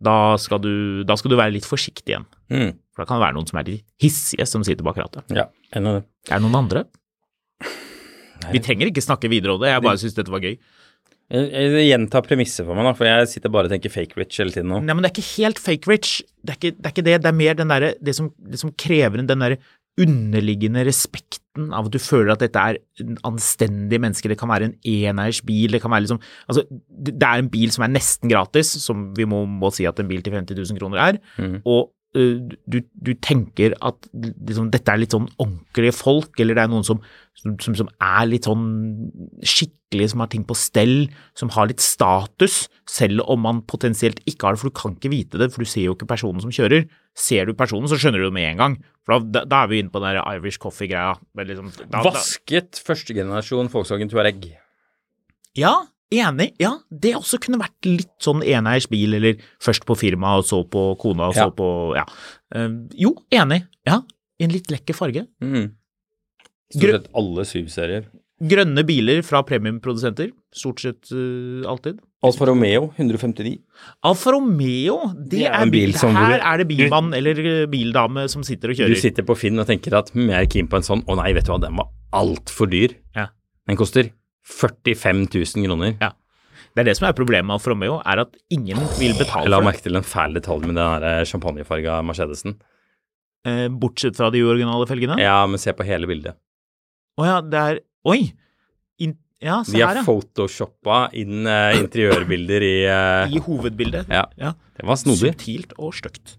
Speaker 2: da skal du, da skal du være litt forsiktig igjen.
Speaker 1: Mm.
Speaker 2: For da kan det være noen som er de hissige som sitter bak rattet.
Speaker 1: Ja, en av dem.
Speaker 2: Er det noen andre?
Speaker 1: Nei.
Speaker 2: Vi trenger ikke snakke videre om det, jeg bare syns dette var gøy.
Speaker 1: Jeg, jeg gjentar premisset for meg, da, for jeg sitter bare og tenker fake rich hele tiden nå.
Speaker 2: Nei, men det er ikke helt fake rich. Det er ikke det. Er ikke det. det er mer den derre- det, som, det som krever den derre underliggende respekten av at du føler at dette er en anstendige mennesker. Det kan være en eneiers bil, det kan være liksom Altså, det det er en bil som er nesten gratis, som vi må, må si at en bil til 50 000 kroner er, og ø, du, du tenker at liksom, dette er litt sånn ordentlige folk, eller det er noen som, som, som- som er litt sånn skikkelig, som har ting på stell, som har litt status, selv om man potensielt ikke har det, for du kan ikke vite det, for du ser jo ikke personen som kjører. Ser du personen, så skjønner du det med en gang. For da, da er vi inne på den der Irish coffee-greia. men Liksom, da- da-
Speaker 1: Vasket førstegenerasjon Volkswagen Touareg.
Speaker 2: ja, enig. Ja, det også kunne vært litt sånn eneiers bil, eller først på firma, og så på kona, og så
Speaker 1: Ja.
Speaker 2: på Ja. Eh, jo, enig. Ja. I en litt lekker farge.
Speaker 1: Mm.
Speaker 2: Gru-
Speaker 1: Stort sett alle syv-serier.
Speaker 2: Grønne biler fra premiumprodusenter, stort sett eh, alltid.
Speaker 1: Alfa Romeo 159.
Speaker 2: Alfa Romeo, det,
Speaker 1: Det er
Speaker 2: er,
Speaker 1: en bil
Speaker 2: bil
Speaker 1: som
Speaker 2: Her
Speaker 1: hvor-
Speaker 2: er det bilmann eller eh, bildame som sitter og
Speaker 1: Du
Speaker 2: kjører.
Speaker 1: sitter på Finn og tenker at hm, jeg er keen på en sånn. Å nei, vet du hva, den var altfor dyr.
Speaker 2: Ja.
Speaker 1: Den koster 45 000 kroner.
Speaker 2: Ja. Det er det som er problemet med Alfa Romeo, er at ingen vil betale
Speaker 1: Jeg la
Speaker 2: for det.
Speaker 1: merke til en fæl detalj med den der champagnefarga Mercedesen.
Speaker 2: Eh, Bortsett fra de uoriginale felgene. Å ja.
Speaker 1: Ja, men se på hele bildet.
Speaker 2: det er Oi! In, ja, se
Speaker 1: De har
Speaker 2: her, ja.
Speaker 1: photoshoppa inn eh, interiørbilder i eh,
Speaker 2: I hovedbildet.
Speaker 1: Ja,
Speaker 2: Ja.
Speaker 1: det var snodig.
Speaker 2: Subtilt og stygt.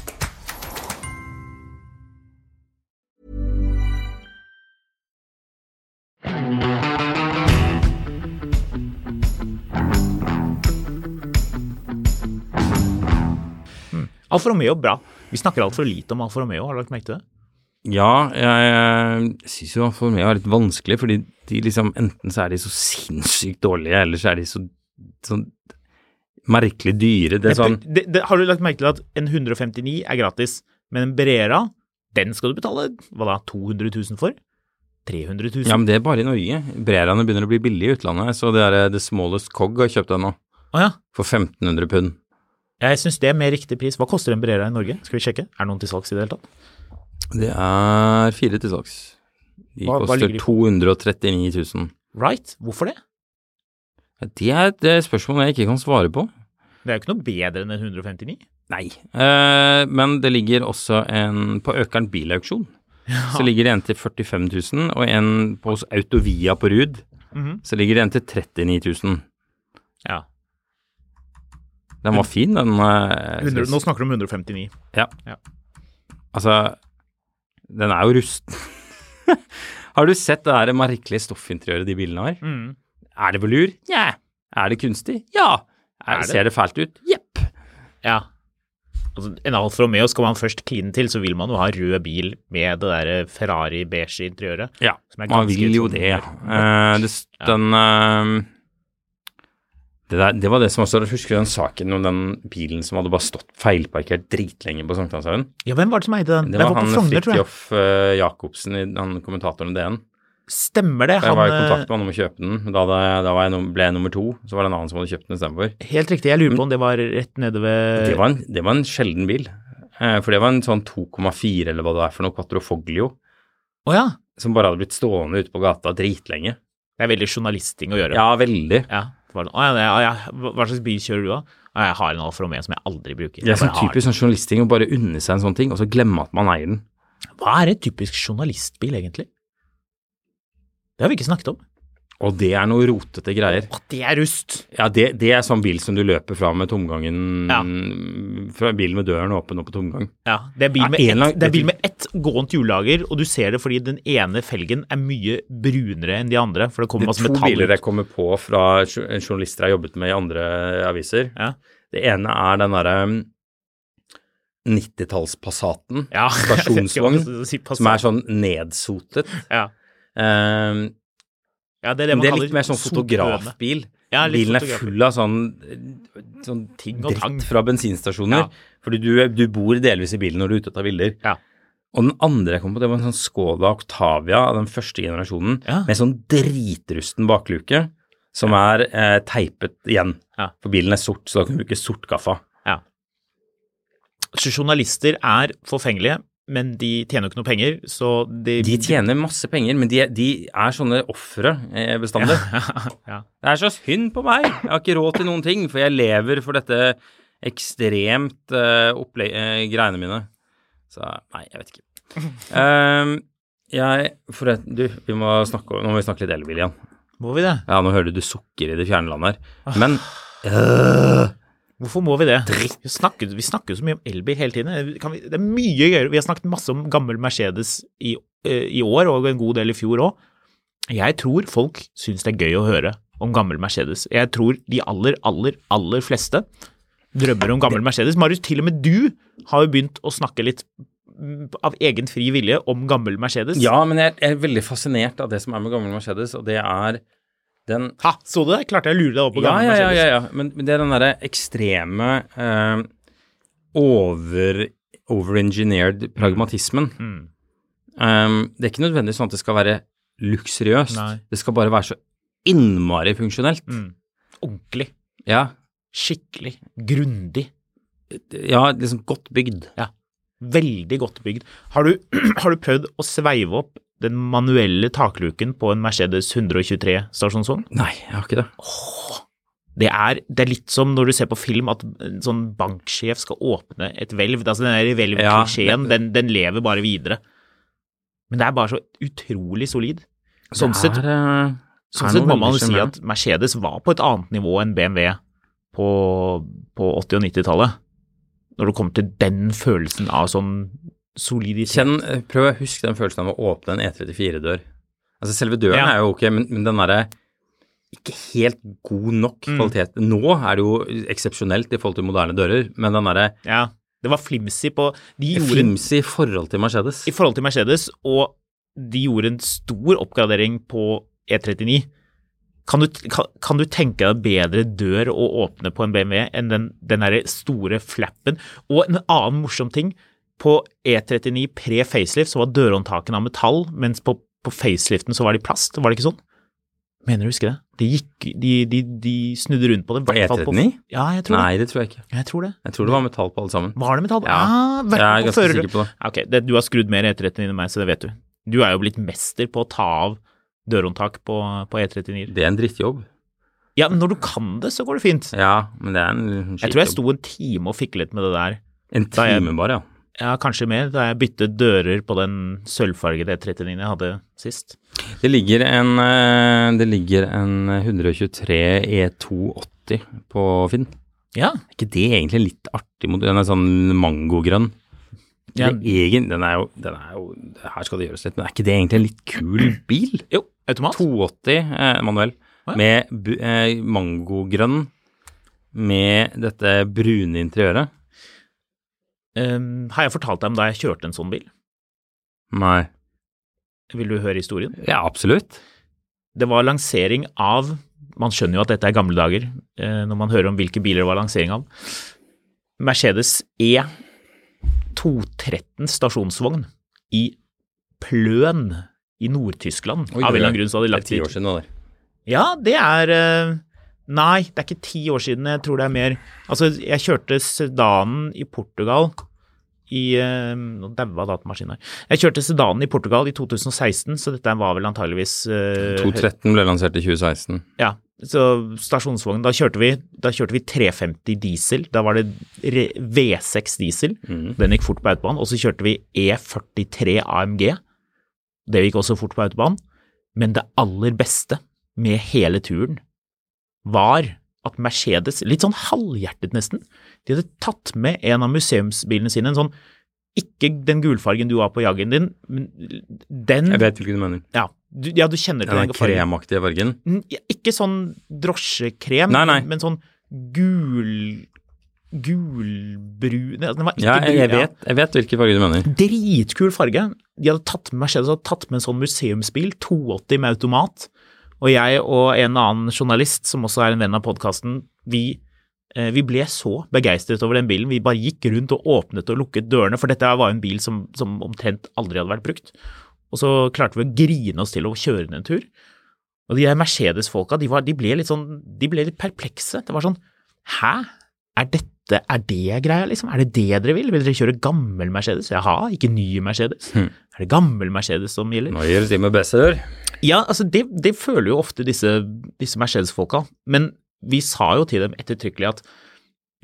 Speaker 2: Alfa Romeo, bra. Vi snakker altfor lite om Alfa Romeo, har du lagt merke til det?
Speaker 1: Ja, jeg syns jo for meg var litt vanskelig, fordi de liksom Enten så er de så sinnssykt dårlige, eller så er de så sånn merkelig dyre. Det er sånn
Speaker 2: det, det, har du lagt merke til at en 159 er gratis, men en Brera, den skal du betale hva da, 200 000 for? 300 000?
Speaker 1: Ja, men det er bare i Norge. Breraene begynner å bli billige i utlandet, så det er eh, The Smallest Cog har kjøpt den nå,
Speaker 2: Å ja.
Speaker 1: for 1500 pund.
Speaker 2: Jeg syns det er mer riktig pris. Hva koster en Brera i Norge? Skal vi sjekke? Er det noen til salgs i det hele tatt?
Speaker 1: Det er fire til saks. De
Speaker 2: Hva- hva
Speaker 1: koster
Speaker 2: ligger de
Speaker 1: 239 000.
Speaker 2: Right? Hvorfor det?
Speaker 1: Ja, Det er et eh, spørsmål jeg ikke kan svare på.
Speaker 2: Det er jo ikke noe bedre enn en 159.
Speaker 1: Nei. Eh, men det ligger også en på Økern bilauksjon. Så ligger det en til 45 000, og en på hos Autovia på Rud.
Speaker 2: Mhm.
Speaker 1: Så ligger det en til 39 000.
Speaker 2: Ja.
Speaker 1: Den var fin, den. eh,
Speaker 2: 100, nå
Speaker 1: synes-
Speaker 2: snakker du om 159.
Speaker 1: Ja.
Speaker 2: Ja.
Speaker 1: Altså, den er jo rusten. har du sett det der merkelige stoffinteriøret de bilene har?
Speaker 2: Mm.
Speaker 1: Er det velur? Nja. Er det kunstig? Ja. Er,
Speaker 2: Er det?
Speaker 1: Ser det fælt ut? Jepp.
Speaker 2: Ja. Altså, en Alfa Romeo skal man først kline til, så vil man jo ha rød bil med det derre Ferrari-beige interiøret.
Speaker 1: Ja,
Speaker 2: Som er
Speaker 1: man
Speaker 2: ganske
Speaker 1: vil jo
Speaker 2: sånn-
Speaker 1: det. Eh, det s- den, eh, det, der, det var det som også jeg Husker den saken om den bilen som hadde bare stått feilparkert dritlenge på Sankthanshaugen?
Speaker 2: Ja, hvem var det som eide den?
Speaker 1: Det
Speaker 2: den
Speaker 1: var
Speaker 2: på
Speaker 1: han
Speaker 2: Frogner, tror jeg.
Speaker 1: Fridtjof eh, Jacobsen, i- han kommentatoren i DN.
Speaker 2: Stemmer det?
Speaker 1: Jeg
Speaker 2: Han,
Speaker 1: var i kontakt
Speaker 2: eh,
Speaker 1: med han om å kjøpe den. men Da, hadde- da var jeg, num- ble jeg nummer to, så var det en annen som hadde kjøpt den istedenfor.
Speaker 2: helt riktig, jeg lurer på om det var rett nede ved
Speaker 1: Det, var en- det var en sjelden bil. eh, For det var en sånn 2,4 eller hva det er for noe, Quattro Foglio,
Speaker 2: Å ja.
Speaker 1: som bare hadde blitt stående ute på gata dritlenge.
Speaker 2: Det er veldig journalisting å gjøre.
Speaker 1: Ja, veldig.
Speaker 2: Ja, det var det. Å, ja, det, å, ja. Hva hva slags bil kjører du da? Å, jeg har en Alfa Romeo som jeg aldri bruker.
Speaker 1: Det er
Speaker 2: Jeg
Speaker 1: sånn
Speaker 2: bare har
Speaker 1: typisk sånn journalisting å bare unne seg en sånn ting, og så glemme at man eier den.
Speaker 2: den. Hva er et typisk journalistbil, egentlig? Det har vi ikke snakket om.
Speaker 1: Og det er noe rotete greier.
Speaker 2: Å, det er rust!
Speaker 1: Ja, det, det er sånn bil som du løper fra med tomgangen
Speaker 2: Ja.
Speaker 1: Fra bilen med døren åpen og på tomgang.
Speaker 2: Ja, det er bil
Speaker 1: Ja,
Speaker 2: med,
Speaker 1: en
Speaker 2: ett,
Speaker 1: lang-
Speaker 2: det er bil med ett gående hjullager, og du ser det fordi den ene felgen er mye brunere enn de andre, for det
Speaker 1: Det
Speaker 2: kommer
Speaker 1: er
Speaker 2: masse
Speaker 1: to
Speaker 2: metall.
Speaker 1: biler
Speaker 2: ut.
Speaker 1: jeg kommer på fra jo- journalister jeg har jobbet med i andre aviser.
Speaker 2: Ja.
Speaker 1: Det ene er den derre mm, 90-tallspassaten.
Speaker 2: Ja.
Speaker 1: Stasjonsvogn. Som er
Speaker 2: sånn
Speaker 1: sånn nedsotet.
Speaker 2: ja.
Speaker 1: Eh,
Speaker 2: ja, det er det
Speaker 1: men
Speaker 2: man
Speaker 1: det er
Speaker 2: kaller
Speaker 1: litt mer sånn
Speaker 2: sotgrønne.
Speaker 1: fotografbil.
Speaker 2: Ja, litt
Speaker 1: Bilen er
Speaker 2: fotografbil.
Speaker 1: full av sånn, sånn
Speaker 2: Ting og
Speaker 1: dritt
Speaker 2: tang.
Speaker 1: fra bensinstasjoner.
Speaker 2: Ja.
Speaker 1: Fordi du, du bor delvis i bilen når du er ute og tar bilder.
Speaker 2: Ja.
Speaker 1: Og den andre jeg kom på, det var en sånn Skoda Octavia av den første generasjonen
Speaker 2: Ja.
Speaker 1: med sånn dritrusten bakluke som er eh, teipet igjen.
Speaker 2: Ja.
Speaker 1: For bilen er sort, så da kan du bruke sort gaffa.
Speaker 2: Så journalister er forfengelige, men de tjener jo ikke noe penger, så de
Speaker 1: De tjener masse penger, men de, de er sånne ofre eh, bestandig.
Speaker 2: ja.
Speaker 1: Det er så synd på meg! Jeg har ikke råd til noen ting, for jeg lever for dette ekstremt eh, opple- eh, greiene mine. Så nei, jeg vet ikke. Ehm, jeg for det, Du, vi må snakke, om- nå må vi snakke litt elbil igjen.
Speaker 2: Må vi det?
Speaker 1: Ja, nå hører du du sukker i det fjerne land her.
Speaker 2: Ah.
Speaker 1: Men
Speaker 2: Hvorfor må vi det? Vi snakker, vi snakker jo så mye om elbil hele tiden. Kan vi, det er mye gøyere. Vi har snakket masse om gammel Mercedes i, eh, i år, og en god del i fjor òg. Jeg tror folk syns det er gøy å høre om gammel Mercedes. Jeg tror de aller, aller, aller fleste drømmer om gammel Mercedes. Marius, til og med du har jo begynt å snakke litt mm, av egen fri vilje om gammel Mercedes.
Speaker 1: ja, men jeg er veldig fascinert av det som er med gammel Mercedes, og det er den
Speaker 2: Ha, så du det? Klarte jeg å lure deg opp på
Speaker 1: ja,
Speaker 2: gammel
Speaker 1: ja, ja,
Speaker 2: Mercedes.
Speaker 1: ja, ja. Men, men det er den derre ekstreme eh, over, overengineered pragmatismen. Um, det er ikke nødvendigvis sånn at det skal være luksuriøst.
Speaker 2: Nei. Mm.
Speaker 1: Det skal bare være så innmari funksjonelt.
Speaker 2: Ordentlig.
Speaker 1: Ja,
Speaker 2: Skikkelig. Grundig.
Speaker 1: ja, liksom godt bygd.
Speaker 2: Ja. Veldig godt bygd. Har du, har du prøvd å sveive opp den manuelle takluken på en Mercedes 123 stasjonsvogn?
Speaker 1: Nei, jeg har ikke det.
Speaker 2: Det er, det er litt som når du ser på film at en sånn banksjef skal åpne et hvelv. Altså den der hvelvklisjeen, den, den lever bare videre. Men det er bare så utrolig solid. Sånn
Speaker 1: Det
Speaker 2: sett,
Speaker 1: er, eh, er
Speaker 2: sånn sett
Speaker 1: noe
Speaker 2: må man
Speaker 1: veldig
Speaker 2: si
Speaker 1: sjarmerende.
Speaker 2: at Mercedes var på et annet nivå enn BMW på, på 80- og 90-tallet. Når det kommer til den følelsen av sånn soliditet.
Speaker 1: Kjenn, eh, prøv å huske den følelsen av å åpne en E34-dør. Altså Selve døren
Speaker 2: Ja.
Speaker 1: er jo ok, men, men den derre ikke helt god nok
Speaker 2: Mm.
Speaker 1: kvalitet. Nå er det jo eksepsjonelt i forhold til moderne dører, men den derre
Speaker 2: Ja, det var flimsy på De gjorde
Speaker 1: flimsy i forhold til Mercedes.
Speaker 2: i forhold til Mercedes, og de gjorde en stor oppgradering på E39. Kan du, kan, kan du tenke deg bedre dør å åpne på en BMW enn den, den derre store flappen? Og en annen morsom ting. På E39 pre-facelift så var dørhåndtakene av metall, mens på, på faceliften så var de plast. Var det ikke sånn? Mener du å huske det? De, gikk, de, de, de snudde rundt på det. i hvert fall
Speaker 1: E39?
Speaker 2: ja, jeg tror
Speaker 1: Nei, det tror jeg ikke.
Speaker 2: det. Jeg tror det.
Speaker 1: Jeg tror det var metall på alle sammen.
Speaker 2: Var det metall?
Speaker 1: Ja.
Speaker 2: Ah, vært
Speaker 1: Jeg er
Speaker 2: på
Speaker 1: ganske
Speaker 2: fører-
Speaker 1: sikker på det.
Speaker 2: Ok, det, du har skrudd mer E39 enn meg, så det vet du. Du er jo blitt mester på å ta av dørhåndtak på, på E39.
Speaker 1: Det er en drittjobb.
Speaker 2: Ja, men når du kan det, så går det fint.
Speaker 1: Ja, men det er en skikkelig
Speaker 2: Jeg tror jeg sto en time og fiklet med det der.
Speaker 1: En
Speaker 2: da jeg-
Speaker 1: time bare, ja.
Speaker 2: Ja, kanskje mer, da jeg byttet dører på den sølvfargede E39 jeg hadde sist.
Speaker 1: Det ligger en, eh, det ligger en eh, 123 E280 E på Finn.
Speaker 2: Ja,
Speaker 1: Er ikke det egentlig en litt artig modell? Den er sånn mangogrønn.
Speaker 2: Ja.
Speaker 1: Det er Egen, den er jo, den er jo det Her skal det gjøres litt, men er ikke det egentlig en litt kul bil?
Speaker 2: jo, automat.
Speaker 1: 280 eh, manuell
Speaker 2: Å, ja.
Speaker 1: med bu- eh, mangogrønn med dette brune interiøret.
Speaker 2: Um, har jeg fortalt deg om da jeg kjørte en sånn bil?
Speaker 1: Nei.
Speaker 2: Vil du høre historien?
Speaker 1: Ja, absolutt.
Speaker 2: Det var lansering av Man skjønner jo at dette er gamle dager eh, når man hører om hvilke biler det var lansering av. Mercedes E213 stasjonsvogn i Pløn i Nord-Tyskland.
Speaker 1: Oi, oi,
Speaker 2: av en eller
Speaker 1: oi.
Speaker 2: annen grunn så hadde de
Speaker 1: Det er
Speaker 2: lagt
Speaker 1: ti
Speaker 2: dit-
Speaker 1: år siden nå, det.
Speaker 2: Ja, det er eh, Nei, det er ikke ti år siden. Jeg tror det er mer Altså, jeg kjørte sedanen i Portugal i eh, Nå daua datamaskinen her. Jeg kjørte sedanen i Portugal i 2016, så dette var vel antageligvis eh,
Speaker 1: 213 ble lansert i 2016.
Speaker 2: ja, så stasjonsvogn, da kjørte vi, da kjørte vi 350 diesel, da var det re- V6 diesel, den gikk fort på autobahn, og så kjørte vi E43 AMG, det gikk også fort på autobahn, men det aller beste med hele turen var at Mercedes, litt sånn halvhjertet nesten, de hadde tatt med en av museumsbilene sine, en sånn, ikke den gulfargen du har på jaggen din, men den,
Speaker 1: Jeg vet hvilken du mener.
Speaker 2: ja, du, ja, du kjenner til
Speaker 1: Den
Speaker 2: den
Speaker 1: der
Speaker 2: fargen.
Speaker 1: kremaktige fargen.
Speaker 2: N- ja, Ikke sånn drosjekrem,
Speaker 1: Nei, nei.
Speaker 2: men sånn gul gulbrun Nei, Den var ikke
Speaker 1: Ja, jeg, jeg,
Speaker 2: brun, ja.
Speaker 1: vet, jeg vet hvilken farge du mener.
Speaker 2: Dritkul farge. De hadde tatt med Mercedes hadde tatt med en sånn museumsbil, 280 med automat. Og jeg og en annen journalist, som også er en venn av podkasten, vi, eh, vi ble så begeistret over den bilen. Vi bare gikk rundt og åpnet og lukket dørene, for dette var jo en bil som, som omtrent aldri hadde vært brukt. Og så klarte vi å grine oss til å kjøre den en tur. Og de der Mercedes-folka, de, var- de ble litt sånn De ble litt perplekse. Det var sånn Hæ? Er dette ofte er det greia, liksom? Er det det dere vil? Vil dere kjøre gammel Mercedes? Jaha, ikke ny Mercedes? Er det gammel Mercedes som gjelder?
Speaker 1: Neuer, Simon Besser.
Speaker 2: Ja, altså det, det føler jo ofte disse, disse Mercedes-folka, men vi sa jo til dem ettertrykkelig at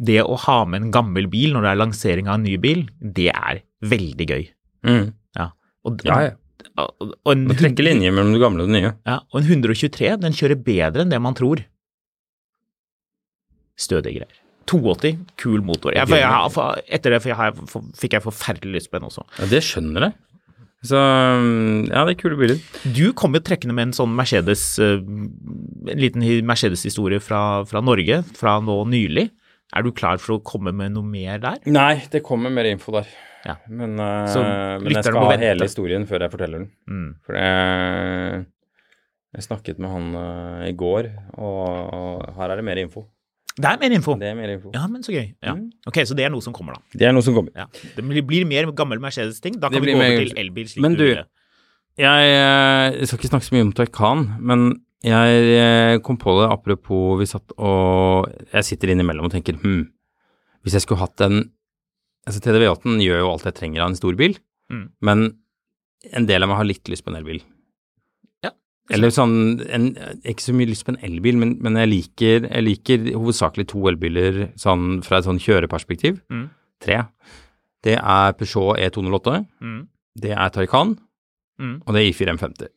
Speaker 2: det å ha med en gammel bil når det er lansering av en ny bil, det er veldig gøy.
Speaker 1: Mm.
Speaker 2: Ja, og,
Speaker 1: Ja, ja.
Speaker 2: Og, og en,
Speaker 1: Må trekke linjer mellom det gamle og det nye.
Speaker 2: ja, og en 123, den kjører bedre enn det man tror. Stødige greier. 280, kul motor. Jeg, for jeg, har- for, etter det for jeg, har- for, fikk jeg forferdelig lyst på den også.
Speaker 1: Ja, det skjønner jeg. Så mm, ja, det er kule bilder.
Speaker 2: Du kom jo trekkende med en sånn Mercedes, eh, en liten hi- Mercedes-historie fra, fra Norge, fra nå nylig. Er du klar for å komme med noe mer der?
Speaker 1: Nei, det kommer mer info der.
Speaker 2: Ja.
Speaker 1: Men, eh,
Speaker 2: Så
Speaker 1: men jeg
Speaker 2: lytterne
Speaker 1: skal
Speaker 2: må
Speaker 1: ha
Speaker 2: vente.
Speaker 1: hele historien før jeg forteller den.
Speaker 2: Mm.
Speaker 1: For jeg, jeg snakket med han eh, i går, og, og her er det mer info.
Speaker 2: Det er mer info.
Speaker 1: Det er mer info.
Speaker 2: Ja, men så gøy. Ja.
Speaker 1: Mm.
Speaker 2: Ok, så det er noe som kommer, da.
Speaker 1: Det er noe som kommer.
Speaker 2: Ja. Det blir- blir mer gammel Mercedes-ting. Da
Speaker 1: Det
Speaker 2: kan vi
Speaker 1: blir
Speaker 2: gå
Speaker 1: mer-
Speaker 2: over til elbil. slik
Speaker 1: Men du-
Speaker 2: ville.
Speaker 1: Jeg, eh, skal ikke snakke så mye om Taycan, men jeg eh, kom på det apropos vi satt og Jeg sitter innimellom og tenker hm, hvis jeg skulle hatt en altså TDV 8 gjør jo alt jeg trenger av en stor bil,
Speaker 2: Mm.
Speaker 1: men en del av meg har litt lyst på en elbil.
Speaker 2: Ja.
Speaker 1: Eller sånn en, Ikke så mye lyst på en elbil, men, men jeg, liker, jeg liker hovedsakelig to elbiler sånn, fra et sånn kjøreperspektiv.
Speaker 2: Mm.
Speaker 1: Tre. Det er Peugeot E208,
Speaker 2: Mm.
Speaker 1: det er Taycan,
Speaker 2: Mm.
Speaker 1: og det er I4 M50.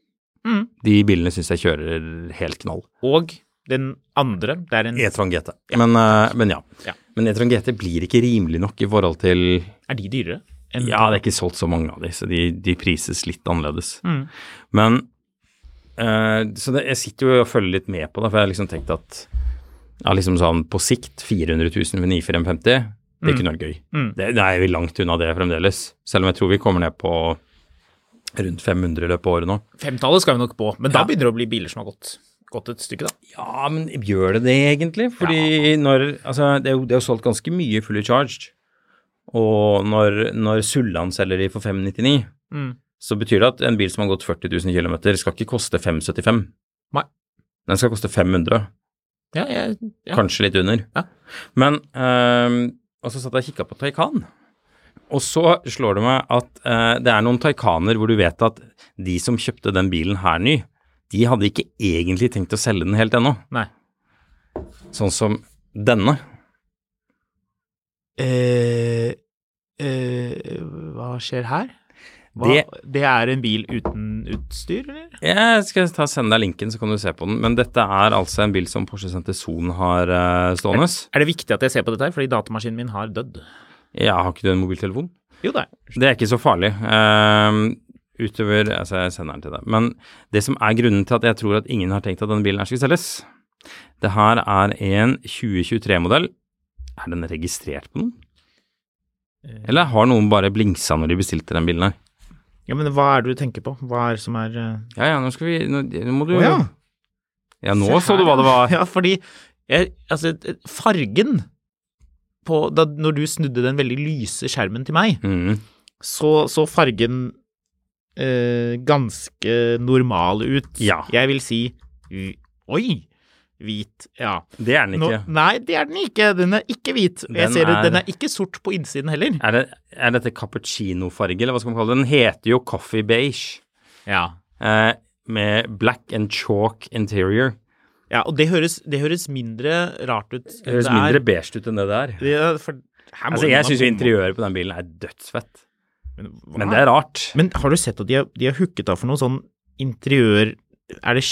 Speaker 2: Mm.
Speaker 1: De bilene syns jeg kjører helt knall.
Speaker 2: Og den andre, det er en
Speaker 1: E-tron GT. Men, eh, men ja.
Speaker 2: Ja.
Speaker 1: Men E-tron GT blir ikke rimelig nok i forhold til
Speaker 2: Er de dyrere? enn-
Speaker 1: Ja, det er ikke solgt så mange av de, så de, de prises litt annerledes.
Speaker 2: Mm.
Speaker 1: Men eh, Så det, jeg sitter jo og følger litt med på det, for jeg har liksom tenkt at ja, liksom sånn på sikt 400 000 ved 94 M50, det kunne vært gøy.
Speaker 2: Mm.
Speaker 1: Det, da er vi langt unna det fremdeles. Selv om jeg tror vi kommer ned på rundt 500 i løpet av året nå.
Speaker 2: Femtallet skal vi nok på, men da
Speaker 1: Ja.
Speaker 2: begynner det å bli biler som har gått, gått et stykke, da.
Speaker 1: Ja, men gjør det det egentlig? Fordi når Altså, det er, jo, det er jo solgt ganske mye fully charged. Og når, når Sulland selger de for 599,
Speaker 2: Mm.
Speaker 1: så betyr det at en bil som har gått 40 000 km, skal ikke koste 575.
Speaker 2: Nei.
Speaker 1: Den skal koste 500,
Speaker 2: Ja, jeg, ja.
Speaker 1: kanskje litt under.
Speaker 2: Ja.
Speaker 1: Men ehm, Og så satt jeg og kikka på Taycan. Og så slår det meg at eh, det er noen Taycaner hvor du vet at de som kjøpte den bilen her ny, de hadde ikke egentlig tenkt å selge den helt ennå.
Speaker 2: Nei.
Speaker 1: Sånn som denne.
Speaker 2: Eh, eh, hva skjer her? Hva, det, er en bil uten utstyr, eller?
Speaker 1: Jeg skal ta sende deg linken, så kan du se på den. Men dette er altså en bil som Porsche Center Zon har eh, stående.
Speaker 2: Er det viktig at jeg ser på dette her, fordi datamaskinen min har dødd?
Speaker 1: Jeg har ikke du en mobiltelefon?
Speaker 2: Jo da.
Speaker 1: Det er ikke så farlig. Ehm, utover Altså, jeg sender den til deg. Men det som er grunnen til at jeg tror at ingen har tenkt at denne bilen her skulle selges, det her er en 2023-modell. Er den registrert på noen? Eller har noen bare blingsa når de bestilte den bilen her?
Speaker 2: Ja, men hva er det du tenker på? Hva er det som er eh,
Speaker 1: Ja ja, nå skal vi Nå, nå må du
Speaker 2: Å ja.
Speaker 1: Ja, nå
Speaker 2: Se
Speaker 1: så du
Speaker 2: her,
Speaker 1: hva det var.
Speaker 2: Ja, fordi jeg, altså, fargen på da, Når du snudde den veldig lyse skjermen til meg,
Speaker 1: Mhm.
Speaker 2: så, så fargen eh, ganske normal ut.
Speaker 1: Ja.
Speaker 2: Jeg vil si hvi- Oi! Hvit. Ja.
Speaker 1: Det er den
Speaker 2: Nå-
Speaker 1: ikke.
Speaker 2: nei, det er den ikke. Den er ikke hvit. Og jeg
Speaker 1: Den
Speaker 2: ser
Speaker 1: er-
Speaker 2: at den er ikke sort på innsiden heller.
Speaker 1: Er, det, er dette cappuccinofarge, eller hva skal man kalle det? Den heter jo Coffee Beige,
Speaker 2: Ja.
Speaker 1: eh, med black and chalk interior.
Speaker 2: ja og det høres, det høres mindre rart ut.
Speaker 1: Det høres mindre beige ut enn det der.
Speaker 2: det er, for, her må
Speaker 1: Altså,
Speaker 2: den
Speaker 1: jeg
Speaker 2: ha
Speaker 1: syns jo
Speaker 2: bomma.
Speaker 1: interiøret på den bilen er dødsfett,
Speaker 2: Men,
Speaker 1: men det er rart.
Speaker 2: Men har du sett at de har, de har hooket av for noe sånn interiør Er det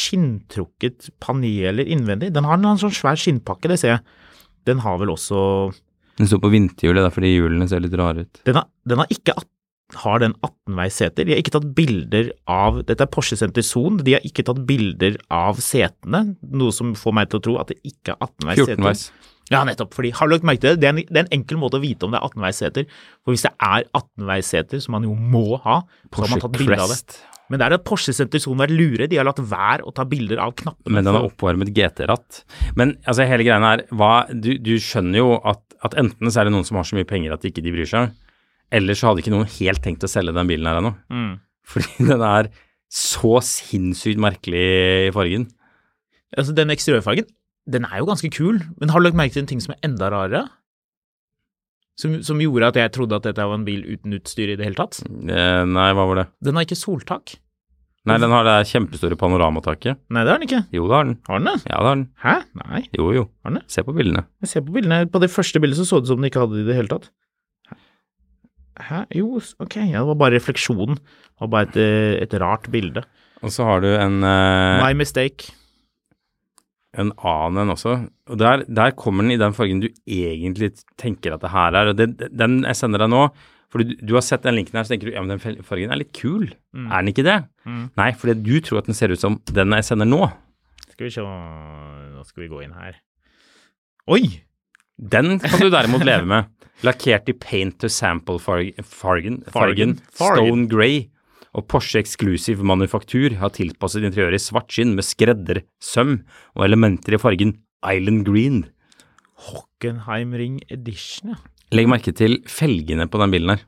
Speaker 2: skinntrukket paneler innvendig? Den har en sånn svær skinnpakke, det ser jeg. Den har vel også
Speaker 1: Den står på vinterhjulet, det er fordi hjulene ser litt rare ut.
Speaker 2: Den har, den har ikke at- har den 18-veis seter? De har ikke tatt bilder av Dette er Porsche Center Zon. De har ikke tatt bilder av setene, noe som får meg til å tro at det ikke er 18-veis seter.
Speaker 1: 14-veis.
Speaker 2: Ja, nettopp. Fordi, har du lagt merke til det? Det er, en, det er en enkel måte å vite om det er 18-veis seter. For hvis det er 18-veis seter, som man jo må ha, så har
Speaker 1: Porsche
Speaker 2: man tatt bilde av det.
Speaker 1: Crest.
Speaker 2: Men der har Porsche Center Zon vært lure. De har latt være å ta bilder av knappene.
Speaker 1: Men den har
Speaker 2: for-
Speaker 1: oppvarmet GT-ratt. Men altså, hele greia er hva Du, du skjønner jo at, at enten så er det noen som har så mye penger at ikke de bryr seg, eller så hadde ikke noen helt tenkt å selge den bilen her ennå.
Speaker 2: Mm.
Speaker 1: Fordi den er så sinnssykt merkelig i fargen.
Speaker 2: Altså, den eksteriørfargen, den er jo ganske kul. Men har du lagt merke til en ting som er enda rarere? som, som gjorde at jeg trodde at dette var en bil uten utstyr i det hele tatt.
Speaker 1: Eh, nei, hva var det?
Speaker 2: Den har ikke soltak.
Speaker 1: Nei, den har det kjempestore panoramataket.
Speaker 2: Nei, det har den ikke.
Speaker 1: Jo, det har den.
Speaker 2: Har den det?
Speaker 1: Ja, det har den.
Speaker 2: Hæ? Nei.
Speaker 1: Jo, jo.
Speaker 2: Har den det?
Speaker 1: Se på bildene.
Speaker 2: Jeg ser på bildene. På det første bildet så så det ut som den ikke hadde det i det hele tatt. Hæ? Jo, s- ok. Ja, det var bare refleksjonen. Det var bare et, eh, et rart bilde.
Speaker 1: Og så har du en, eh,
Speaker 2: My mistake.
Speaker 1: en annen en også. Og der, der kommer den i den fargen du egentlig tenker at det her er. Og det, den jeg sender deg nå, fordi du, du har sett den linken her, så tenker du ja, men den fel- fargen er litt kul.
Speaker 2: Mm.
Speaker 1: Er den ikke det? Nei, fordi du tror at den ser ut som den jeg sender nå.
Speaker 2: Skal vi se Nå skal vi gå inn her. Oi!
Speaker 1: Den kan du derimot leve med. Lakkert i paint to sample farg- fargen, fargen,
Speaker 2: Fargen.
Speaker 1: stone grey, og Porsche Exclusive Manufaktur har tilpasset interiøret i svart skinn med skredder, søm og elementer i fargen Island Green.
Speaker 2: Hockenheim Ring Edition, ja.
Speaker 1: Legg merke til felgene på den bilen her.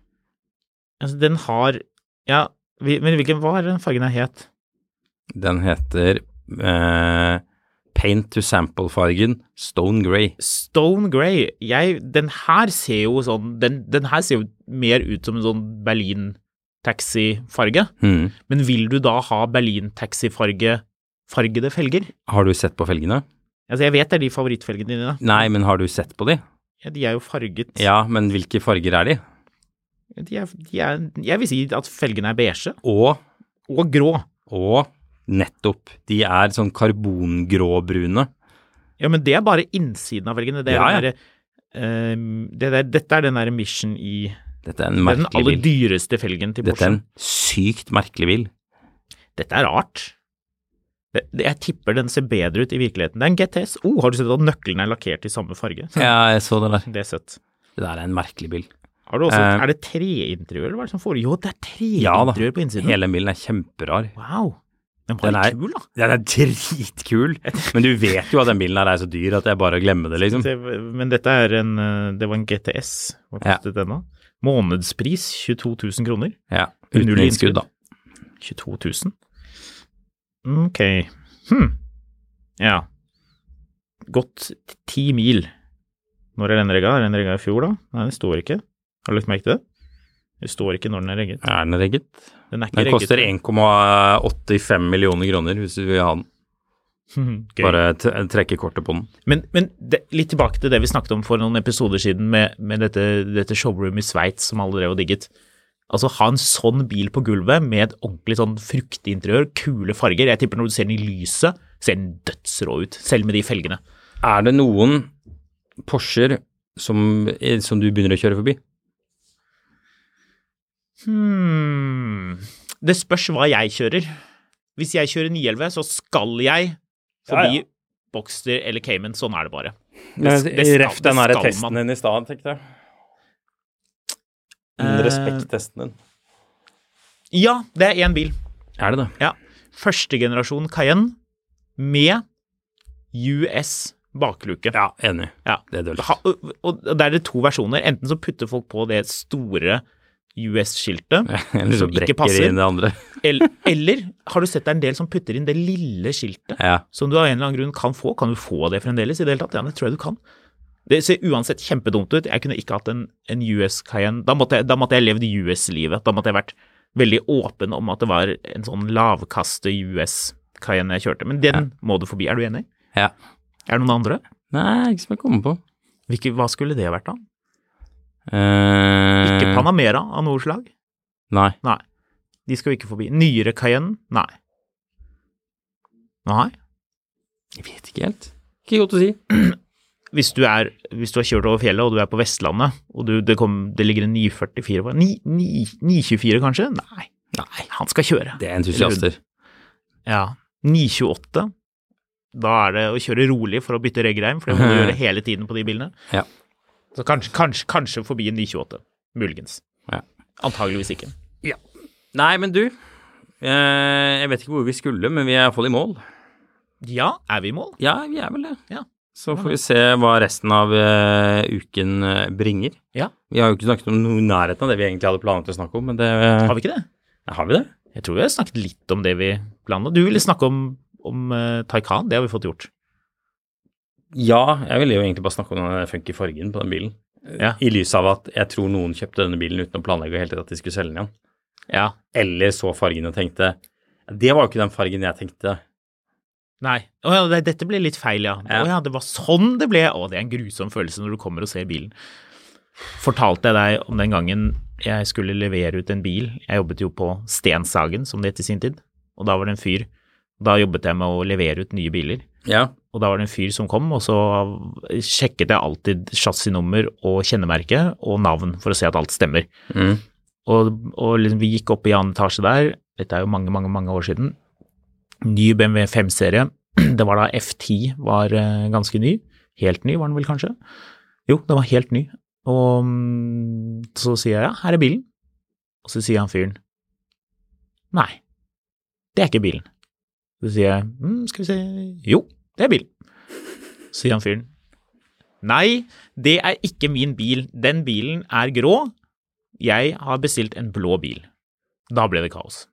Speaker 2: Altså, den har Ja, vi, men hvilken Hva er den fargen her het?
Speaker 1: Den heter eh, paint to sample-fargen stone grey.
Speaker 2: Stone Grey. Jeg Den her ser jo sånn Den, den her ser jo mer ut som en sånn Berlin-taxi-farge.
Speaker 1: Hmm.
Speaker 2: Men vil du da ha Berlin-taxi-farge fargede felger?
Speaker 1: Har du sett på felgene?
Speaker 2: Altså, jeg vet det er de favorittfelgene dine.
Speaker 1: Nei, men har du sett på de?
Speaker 2: Ja, de er jo farget
Speaker 1: Ja, men hvilke farger er de?
Speaker 2: de er, de er, Jeg vil si at felgene er beige
Speaker 1: Og
Speaker 2: og grå.
Speaker 1: Og nettopp, de er sånn karbongråbrune.
Speaker 2: Ja, men det er bare innsiden av felgene. Det er
Speaker 1: Ja, ja.
Speaker 2: den derre, ehm, det der, dette er den der Mission i
Speaker 1: Dette er en
Speaker 2: Det er den
Speaker 1: merkelig
Speaker 2: aller
Speaker 1: bil.
Speaker 2: dyreste felgen til
Speaker 1: Dette er
Speaker 2: Porsche.
Speaker 1: en sykt merkelig bil.
Speaker 2: Dette er rart. Det, det, jeg tipper den ser bedre ut i virkeligheten. Det er en GTS. Oh, har du sett at nøklene er lakkert i samme farge?
Speaker 1: Ja, jeg så det der.
Speaker 2: Det er søtt.
Speaker 1: Det der er en merkelig bil.
Speaker 2: Har du også,
Speaker 1: Eh.
Speaker 2: er det treinteriør, eller hva er det som foregår? Jo, det er
Speaker 1: Ja da,
Speaker 2: treinteriør på innsiden.
Speaker 1: hele bilen er kjemperar.
Speaker 2: Wow. Den var
Speaker 1: Den
Speaker 2: litt
Speaker 1: er-
Speaker 2: kul, da.
Speaker 1: Den er dritkul, men du vet jo at den bilen her er så dyr at det er bare å glemme det, liksom.
Speaker 2: Det, men dette er en eh, Det var en GTS. Hva
Speaker 1: Ja.
Speaker 2: kostet den, da? Månedspris 22 000 kroner.
Speaker 1: Ja, uten
Speaker 2: Null
Speaker 1: innskudd, da.
Speaker 2: 22 000? Ok. Hm. Ja. Gått ti mil. Når er den regga? Er den regga i fjor, da? Nei, det står ikke. Har du lagt merke til det? Det står ikke når den er regget.
Speaker 1: Er den regget?
Speaker 2: Den er
Speaker 1: Den
Speaker 2: ikke regget.
Speaker 1: koster 1,85 millioner kroner hvis du vil ha den.
Speaker 2: Gøy.
Speaker 1: Bare t- trekke kortet på den.
Speaker 2: Men, men det, litt tilbake til det vi snakket om for noen episoder siden med, med dette, dette showroomet i Sveits som alle drev og digget. Altså ha en sånn bil på gulvet med et ordentlig sånn fruktig interiør, kule farger. Jeg tipper når du ser den i lyset, ser den dødsrå ut, selv med de felgene.
Speaker 1: Er det noen Porscher som, som du begynner å kjøre forbi?
Speaker 2: Hmm. Det spørs hva jeg kjører. Hvis jeg kjører 911, så skal jeg forbi
Speaker 1: Ja, ja.
Speaker 2: Boxter eller Cayman. Sånn er det bare.
Speaker 1: Men
Speaker 2: Det- det skal-
Speaker 1: Ref den
Speaker 2: det
Speaker 1: her
Speaker 2: skal
Speaker 1: testen
Speaker 2: man.
Speaker 1: din i stad, tenkte jeg.
Speaker 2: Eh,
Speaker 1: Den respekttesten din.
Speaker 2: Ja, det er én bil.
Speaker 1: Er det det?
Speaker 2: Ja. Første generasjon Cayenne med US bakluke.
Speaker 1: Ja, enig.
Speaker 2: Ja.
Speaker 1: Det er dølt.
Speaker 2: Ha, og og der er det to versjoner. Enten så putter folk på det store US-skiltet,
Speaker 1: Eller så
Speaker 2: som ikke
Speaker 1: brekker de
Speaker 2: passer.
Speaker 1: inn det andre.
Speaker 2: eller, eller har du sett det er en del som putter inn det lille skiltet?
Speaker 1: Ja.
Speaker 2: som du av en eller annen grunn kan få. Kan du få det fremdeles i det hele tatt? Ja, det tror jeg du kan. Det ser uansett kjempedumt ut. Jeg kunne ikke hatt en, en US Cayenne. Da måtte jeg, da måtte jeg levd US-livet. Da måtte jeg vært veldig åpen om at det var en sånn lavkaste US Cayenne jeg kjørte. Men den må du forbi. Er du enig?
Speaker 1: ja.
Speaker 2: Er det noen andre?
Speaker 1: Nei, ikke som jeg kommer på.
Speaker 2: Hvilke, hva skulle det vært, da?
Speaker 1: Eh,
Speaker 2: Ikke Panamera av noe slag?
Speaker 1: Nei.
Speaker 2: Nei. De skal vi ikke forbi. Nyere Cayenne? Nei. Nei.
Speaker 1: Jeg vet ikke helt. Ikke godt å si.
Speaker 2: hvis du, er, hvis du har kjørt over fjellet og du er på Vestlandet, og du, det, kom, det ligger en 944 på 9, 9, 924 kanskje? Nei,
Speaker 1: Nei.
Speaker 2: han skal kjøre.
Speaker 1: Det er entusiaster.
Speaker 2: Ja. 928. Da er det å kjøre rolig for å bytte reggreim, for det må du gjøre hele tiden på de bilene.
Speaker 1: Ja.
Speaker 2: Så kanskje, kanskje, kanskje forbi en 928. Muligens.
Speaker 1: Ja.
Speaker 2: Antageligvis ikke.
Speaker 1: Nei, men du. Eh, jeg vet ikke hvor vi skulle, men vi er iallfall i mål.
Speaker 2: Ja, er vi i mål?
Speaker 1: Ja, vi er vel det.
Speaker 2: Ja.
Speaker 1: Så får vi se hva resten av eh, uken eh, bringer.
Speaker 2: Ja.
Speaker 1: Vi har jo ikke snakket om noe i nærheten av det vi egentlig hadde planlagt å snakke om, men det eh, Har
Speaker 2: Har vi ikke det?
Speaker 1: vi, har vi det?
Speaker 2: Jeg tror vi har snakket litt om det vi planla. Du ville snakke om, om eh, Taycan, det har vi fått gjort.
Speaker 1: Ja, jeg ville jo egentlig bare snakke om den funky fargen på den bilen.
Speaker 2: Ja.
Speaker 1: I lys av at jeg tror noen kjøpte denne bilen uten å planlegge i det hele tatt at de skulle selge den igjen.
Speaker 2: ja.
Speaker 1: Eller så fargen og tenkte Det var jo ikke den fargen jeg tenkte.
Speaker 2: Nei. Å ja, det, dette ble litt feil, ja.
Speaker 1: Ja.
Speaker 2: Å ja, det var sånn det ble. Å, det er en grusom følelse når du kommer og ser bilen. Fortalte jeg deg om den gangen jeg skulle levere ut en bil. Jeg jobbet jo på Stenshagen, som det het i sin tid, og da var det en fyr. Da jobbet jeg med å levere ut nye biler.
Speaker 1: Ja.
Speaker 2: Og da var det en fyr som kom, og så sjekket jeg alltid chassisnummer og kjennemerke og navn for å se at alt stemmer.
Speaker 1: Mm.
Speaker 2: Og, og liksom, vi gikk opp i annen etasje der, dette er jo mange, mange, mange år siden. Ny BMW 5-serie. Det var da F10 var eh, ganske ny. Helt ny var den vel kanskje? Jo, den var helt ny. Og mm, så sier jeg ja, her er bilen. Og så sier han fyren nei, det er ikke bilen. Så sier jeg mm, skal vi se, jo, det er bilen. Så sier han fyren nei, det er ikke min bil, den bilen er grå, jeg har bestilt en blå bil. Da ble det kaos.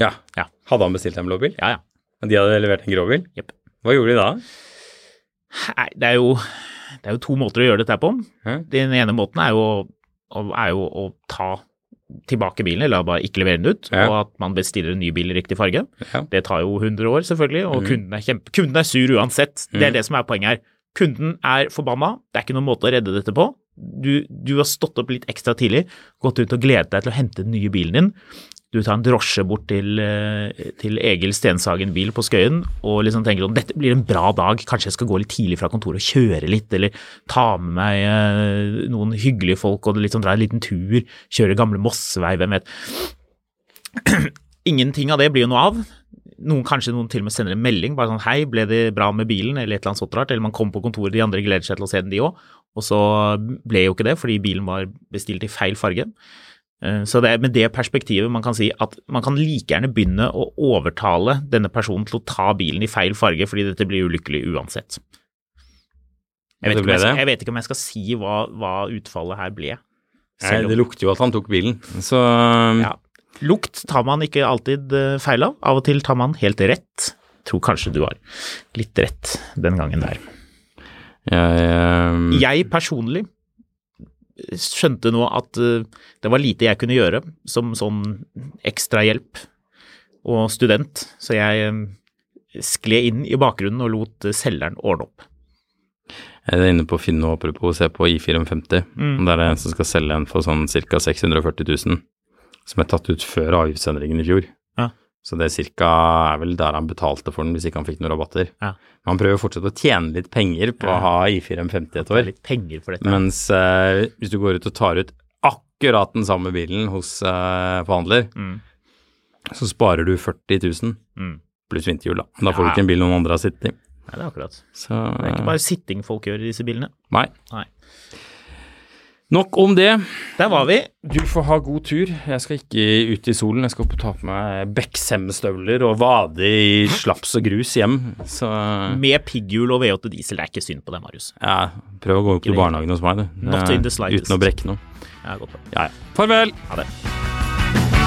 Speaker 1: ja.
Speaker 2: Ja.
Speaker 1: Hadde han bestilt en blå bil?
Speaker 2: Ja, ja.
Speaker 1: Men de hadde levert en grå bil?
Speaker 2: Jepp.
Speaker 1: Hva gjorde de da?
Speaker 2: Nei, det er jo, det er jo to måter å gjøre dette her på.
Speaker 1: Hæ?
Speaker 2: Den ene måten er jo, å- er jo å ta tilbake bilen, eller bare ikke levere den ut,
Speaker 1: Ja.
Speaker 2: og at man bestiller en ny bil i riktig farge.
Speaker 1: Ja.
Speaker 2: Det tar jo 100 år, selvfølgelig, og kunden, er kjempe, kunden er sur uansett. Det
Speaker 1: Mm.
Speaker 2: er det som er poenget her. Kunden er forbanna, det er ikke noen måte å redde dette på. Du, du har stått opp litt ekstra tidlig, gått ut og gledet deg til å hente den nye bilen din. Du tar en drosje bort til, eh, til Egil Stenshagen bil på Skøyen og liksom tenker sånn dette blir en bra dag, kanskje jeg skal gå litt tidlig fra kontoret og kjøre litt, eller ta med meg eh, noen hyggelige folk og liksom dra en liten tur, kjøre gamle Mossevei, hvem vet ingenting av det blir jo noe av. Noen, kanskje noen til og med sender en melding bare sånn 'hei, ble det bra med bilen?' eller et eller annet sånt rart. Eller man kommer på kontoret, de andre gleder seg til å se den, de òg. Og så ble jo ikke det, fordi bilen var bestilt i feil farge. Eh, Så det er med det perspektivet man kan si at man kan like gjerne begynne å overtale denne personen til å ta bilen i feil farge, fordi dette blir ulykkelig uansett. Jeg vet,
Speaker 1: Det
Speaker 2: ikke om jeg,
Speaker 1: ble det.
Speaker 2: skal, jeg vet ikke om jeg skal si hva, hva utfallet her ble.
Speaker 1: Nei,
Speaker 2: Selv om-
Speaker 1: det lukter jo at han tok bilen. Så
Speaker 2: ja. Lukt tar man ikke alltid eh, feil av. Av og til tar man helt rett. Tror kanskje du har litt rett den gangen der.
Speaker 1: um, jeg, ehm,
Speaker 2: Jeg personlig skjønte nå at eh, det var lite jeg kunne gjøre som sånn ekstrahjelp og student, så jeg eh, skled inn i bakgrunnen og lot eh, selgeren ordne opp.
Speaker 1: Jeg er inne på Finn nå, apropos, se på I450.
Speaker 2: Mm.
Speaker 1: Der er det en som skal selge en for sånn ca. 640 000, som er tatt ut før avgiftsendringen i fjor.
Speaker 2: Ja.
Speaker 1: Så det cirka er vel der han betalte for den, hvis ikke han fikk noen rabatter.
Speaker 2: Ja.
Speaker 1: Men han prøver fortsatt å tjene litt penger på å ha I450 et
Speaker 2: Det er
Speaker 1: år,
Speaker 2: litt penger for dette.
Speaker 1: mens eh, hvis du går ut og tar ut akkurat den samme bilen hos eh, forhandler,
Speaker 2: Mm.
Speaker 1: så sparer du 40 000
Speaker 2: Mm.
Speaker 1: pluss vinterhjul, da. Da får du
Speaker 2: Ja.
Speaker 1: ikke en bil noen andre har sittet i.
Speaker 2: Nei, det er akkurat.
Speaker 1: Så
Speaker 2: Det er ikke bare sitting folk gjør i disse bilene.
Speaker 1: Nei.
Speaker 2: Nei.
Speaker 1: Nok om det.
Speaker 2: Der var vi.
Speaker 1: Du får ha god tur. Jeg skal ikke ut i solen. Jeg skal opp og ta på meg Beksem-støvler og vade i slaps og grus hjem. Så
Speaker 2: Med pigghjul og V8 diesel. Det er ikke synd på deg, Marius.
Speaker 1: ja, prøv å gå opp til barnehagen hos meg, du. Eh,
Speaker 2: Not in the slightest.
Speaker 1: Uten å brekke noe.
Speaker 2: Ja, godt da.
Speaker 1: Ja, ja. Farvel!
Speaker 2: Ha det.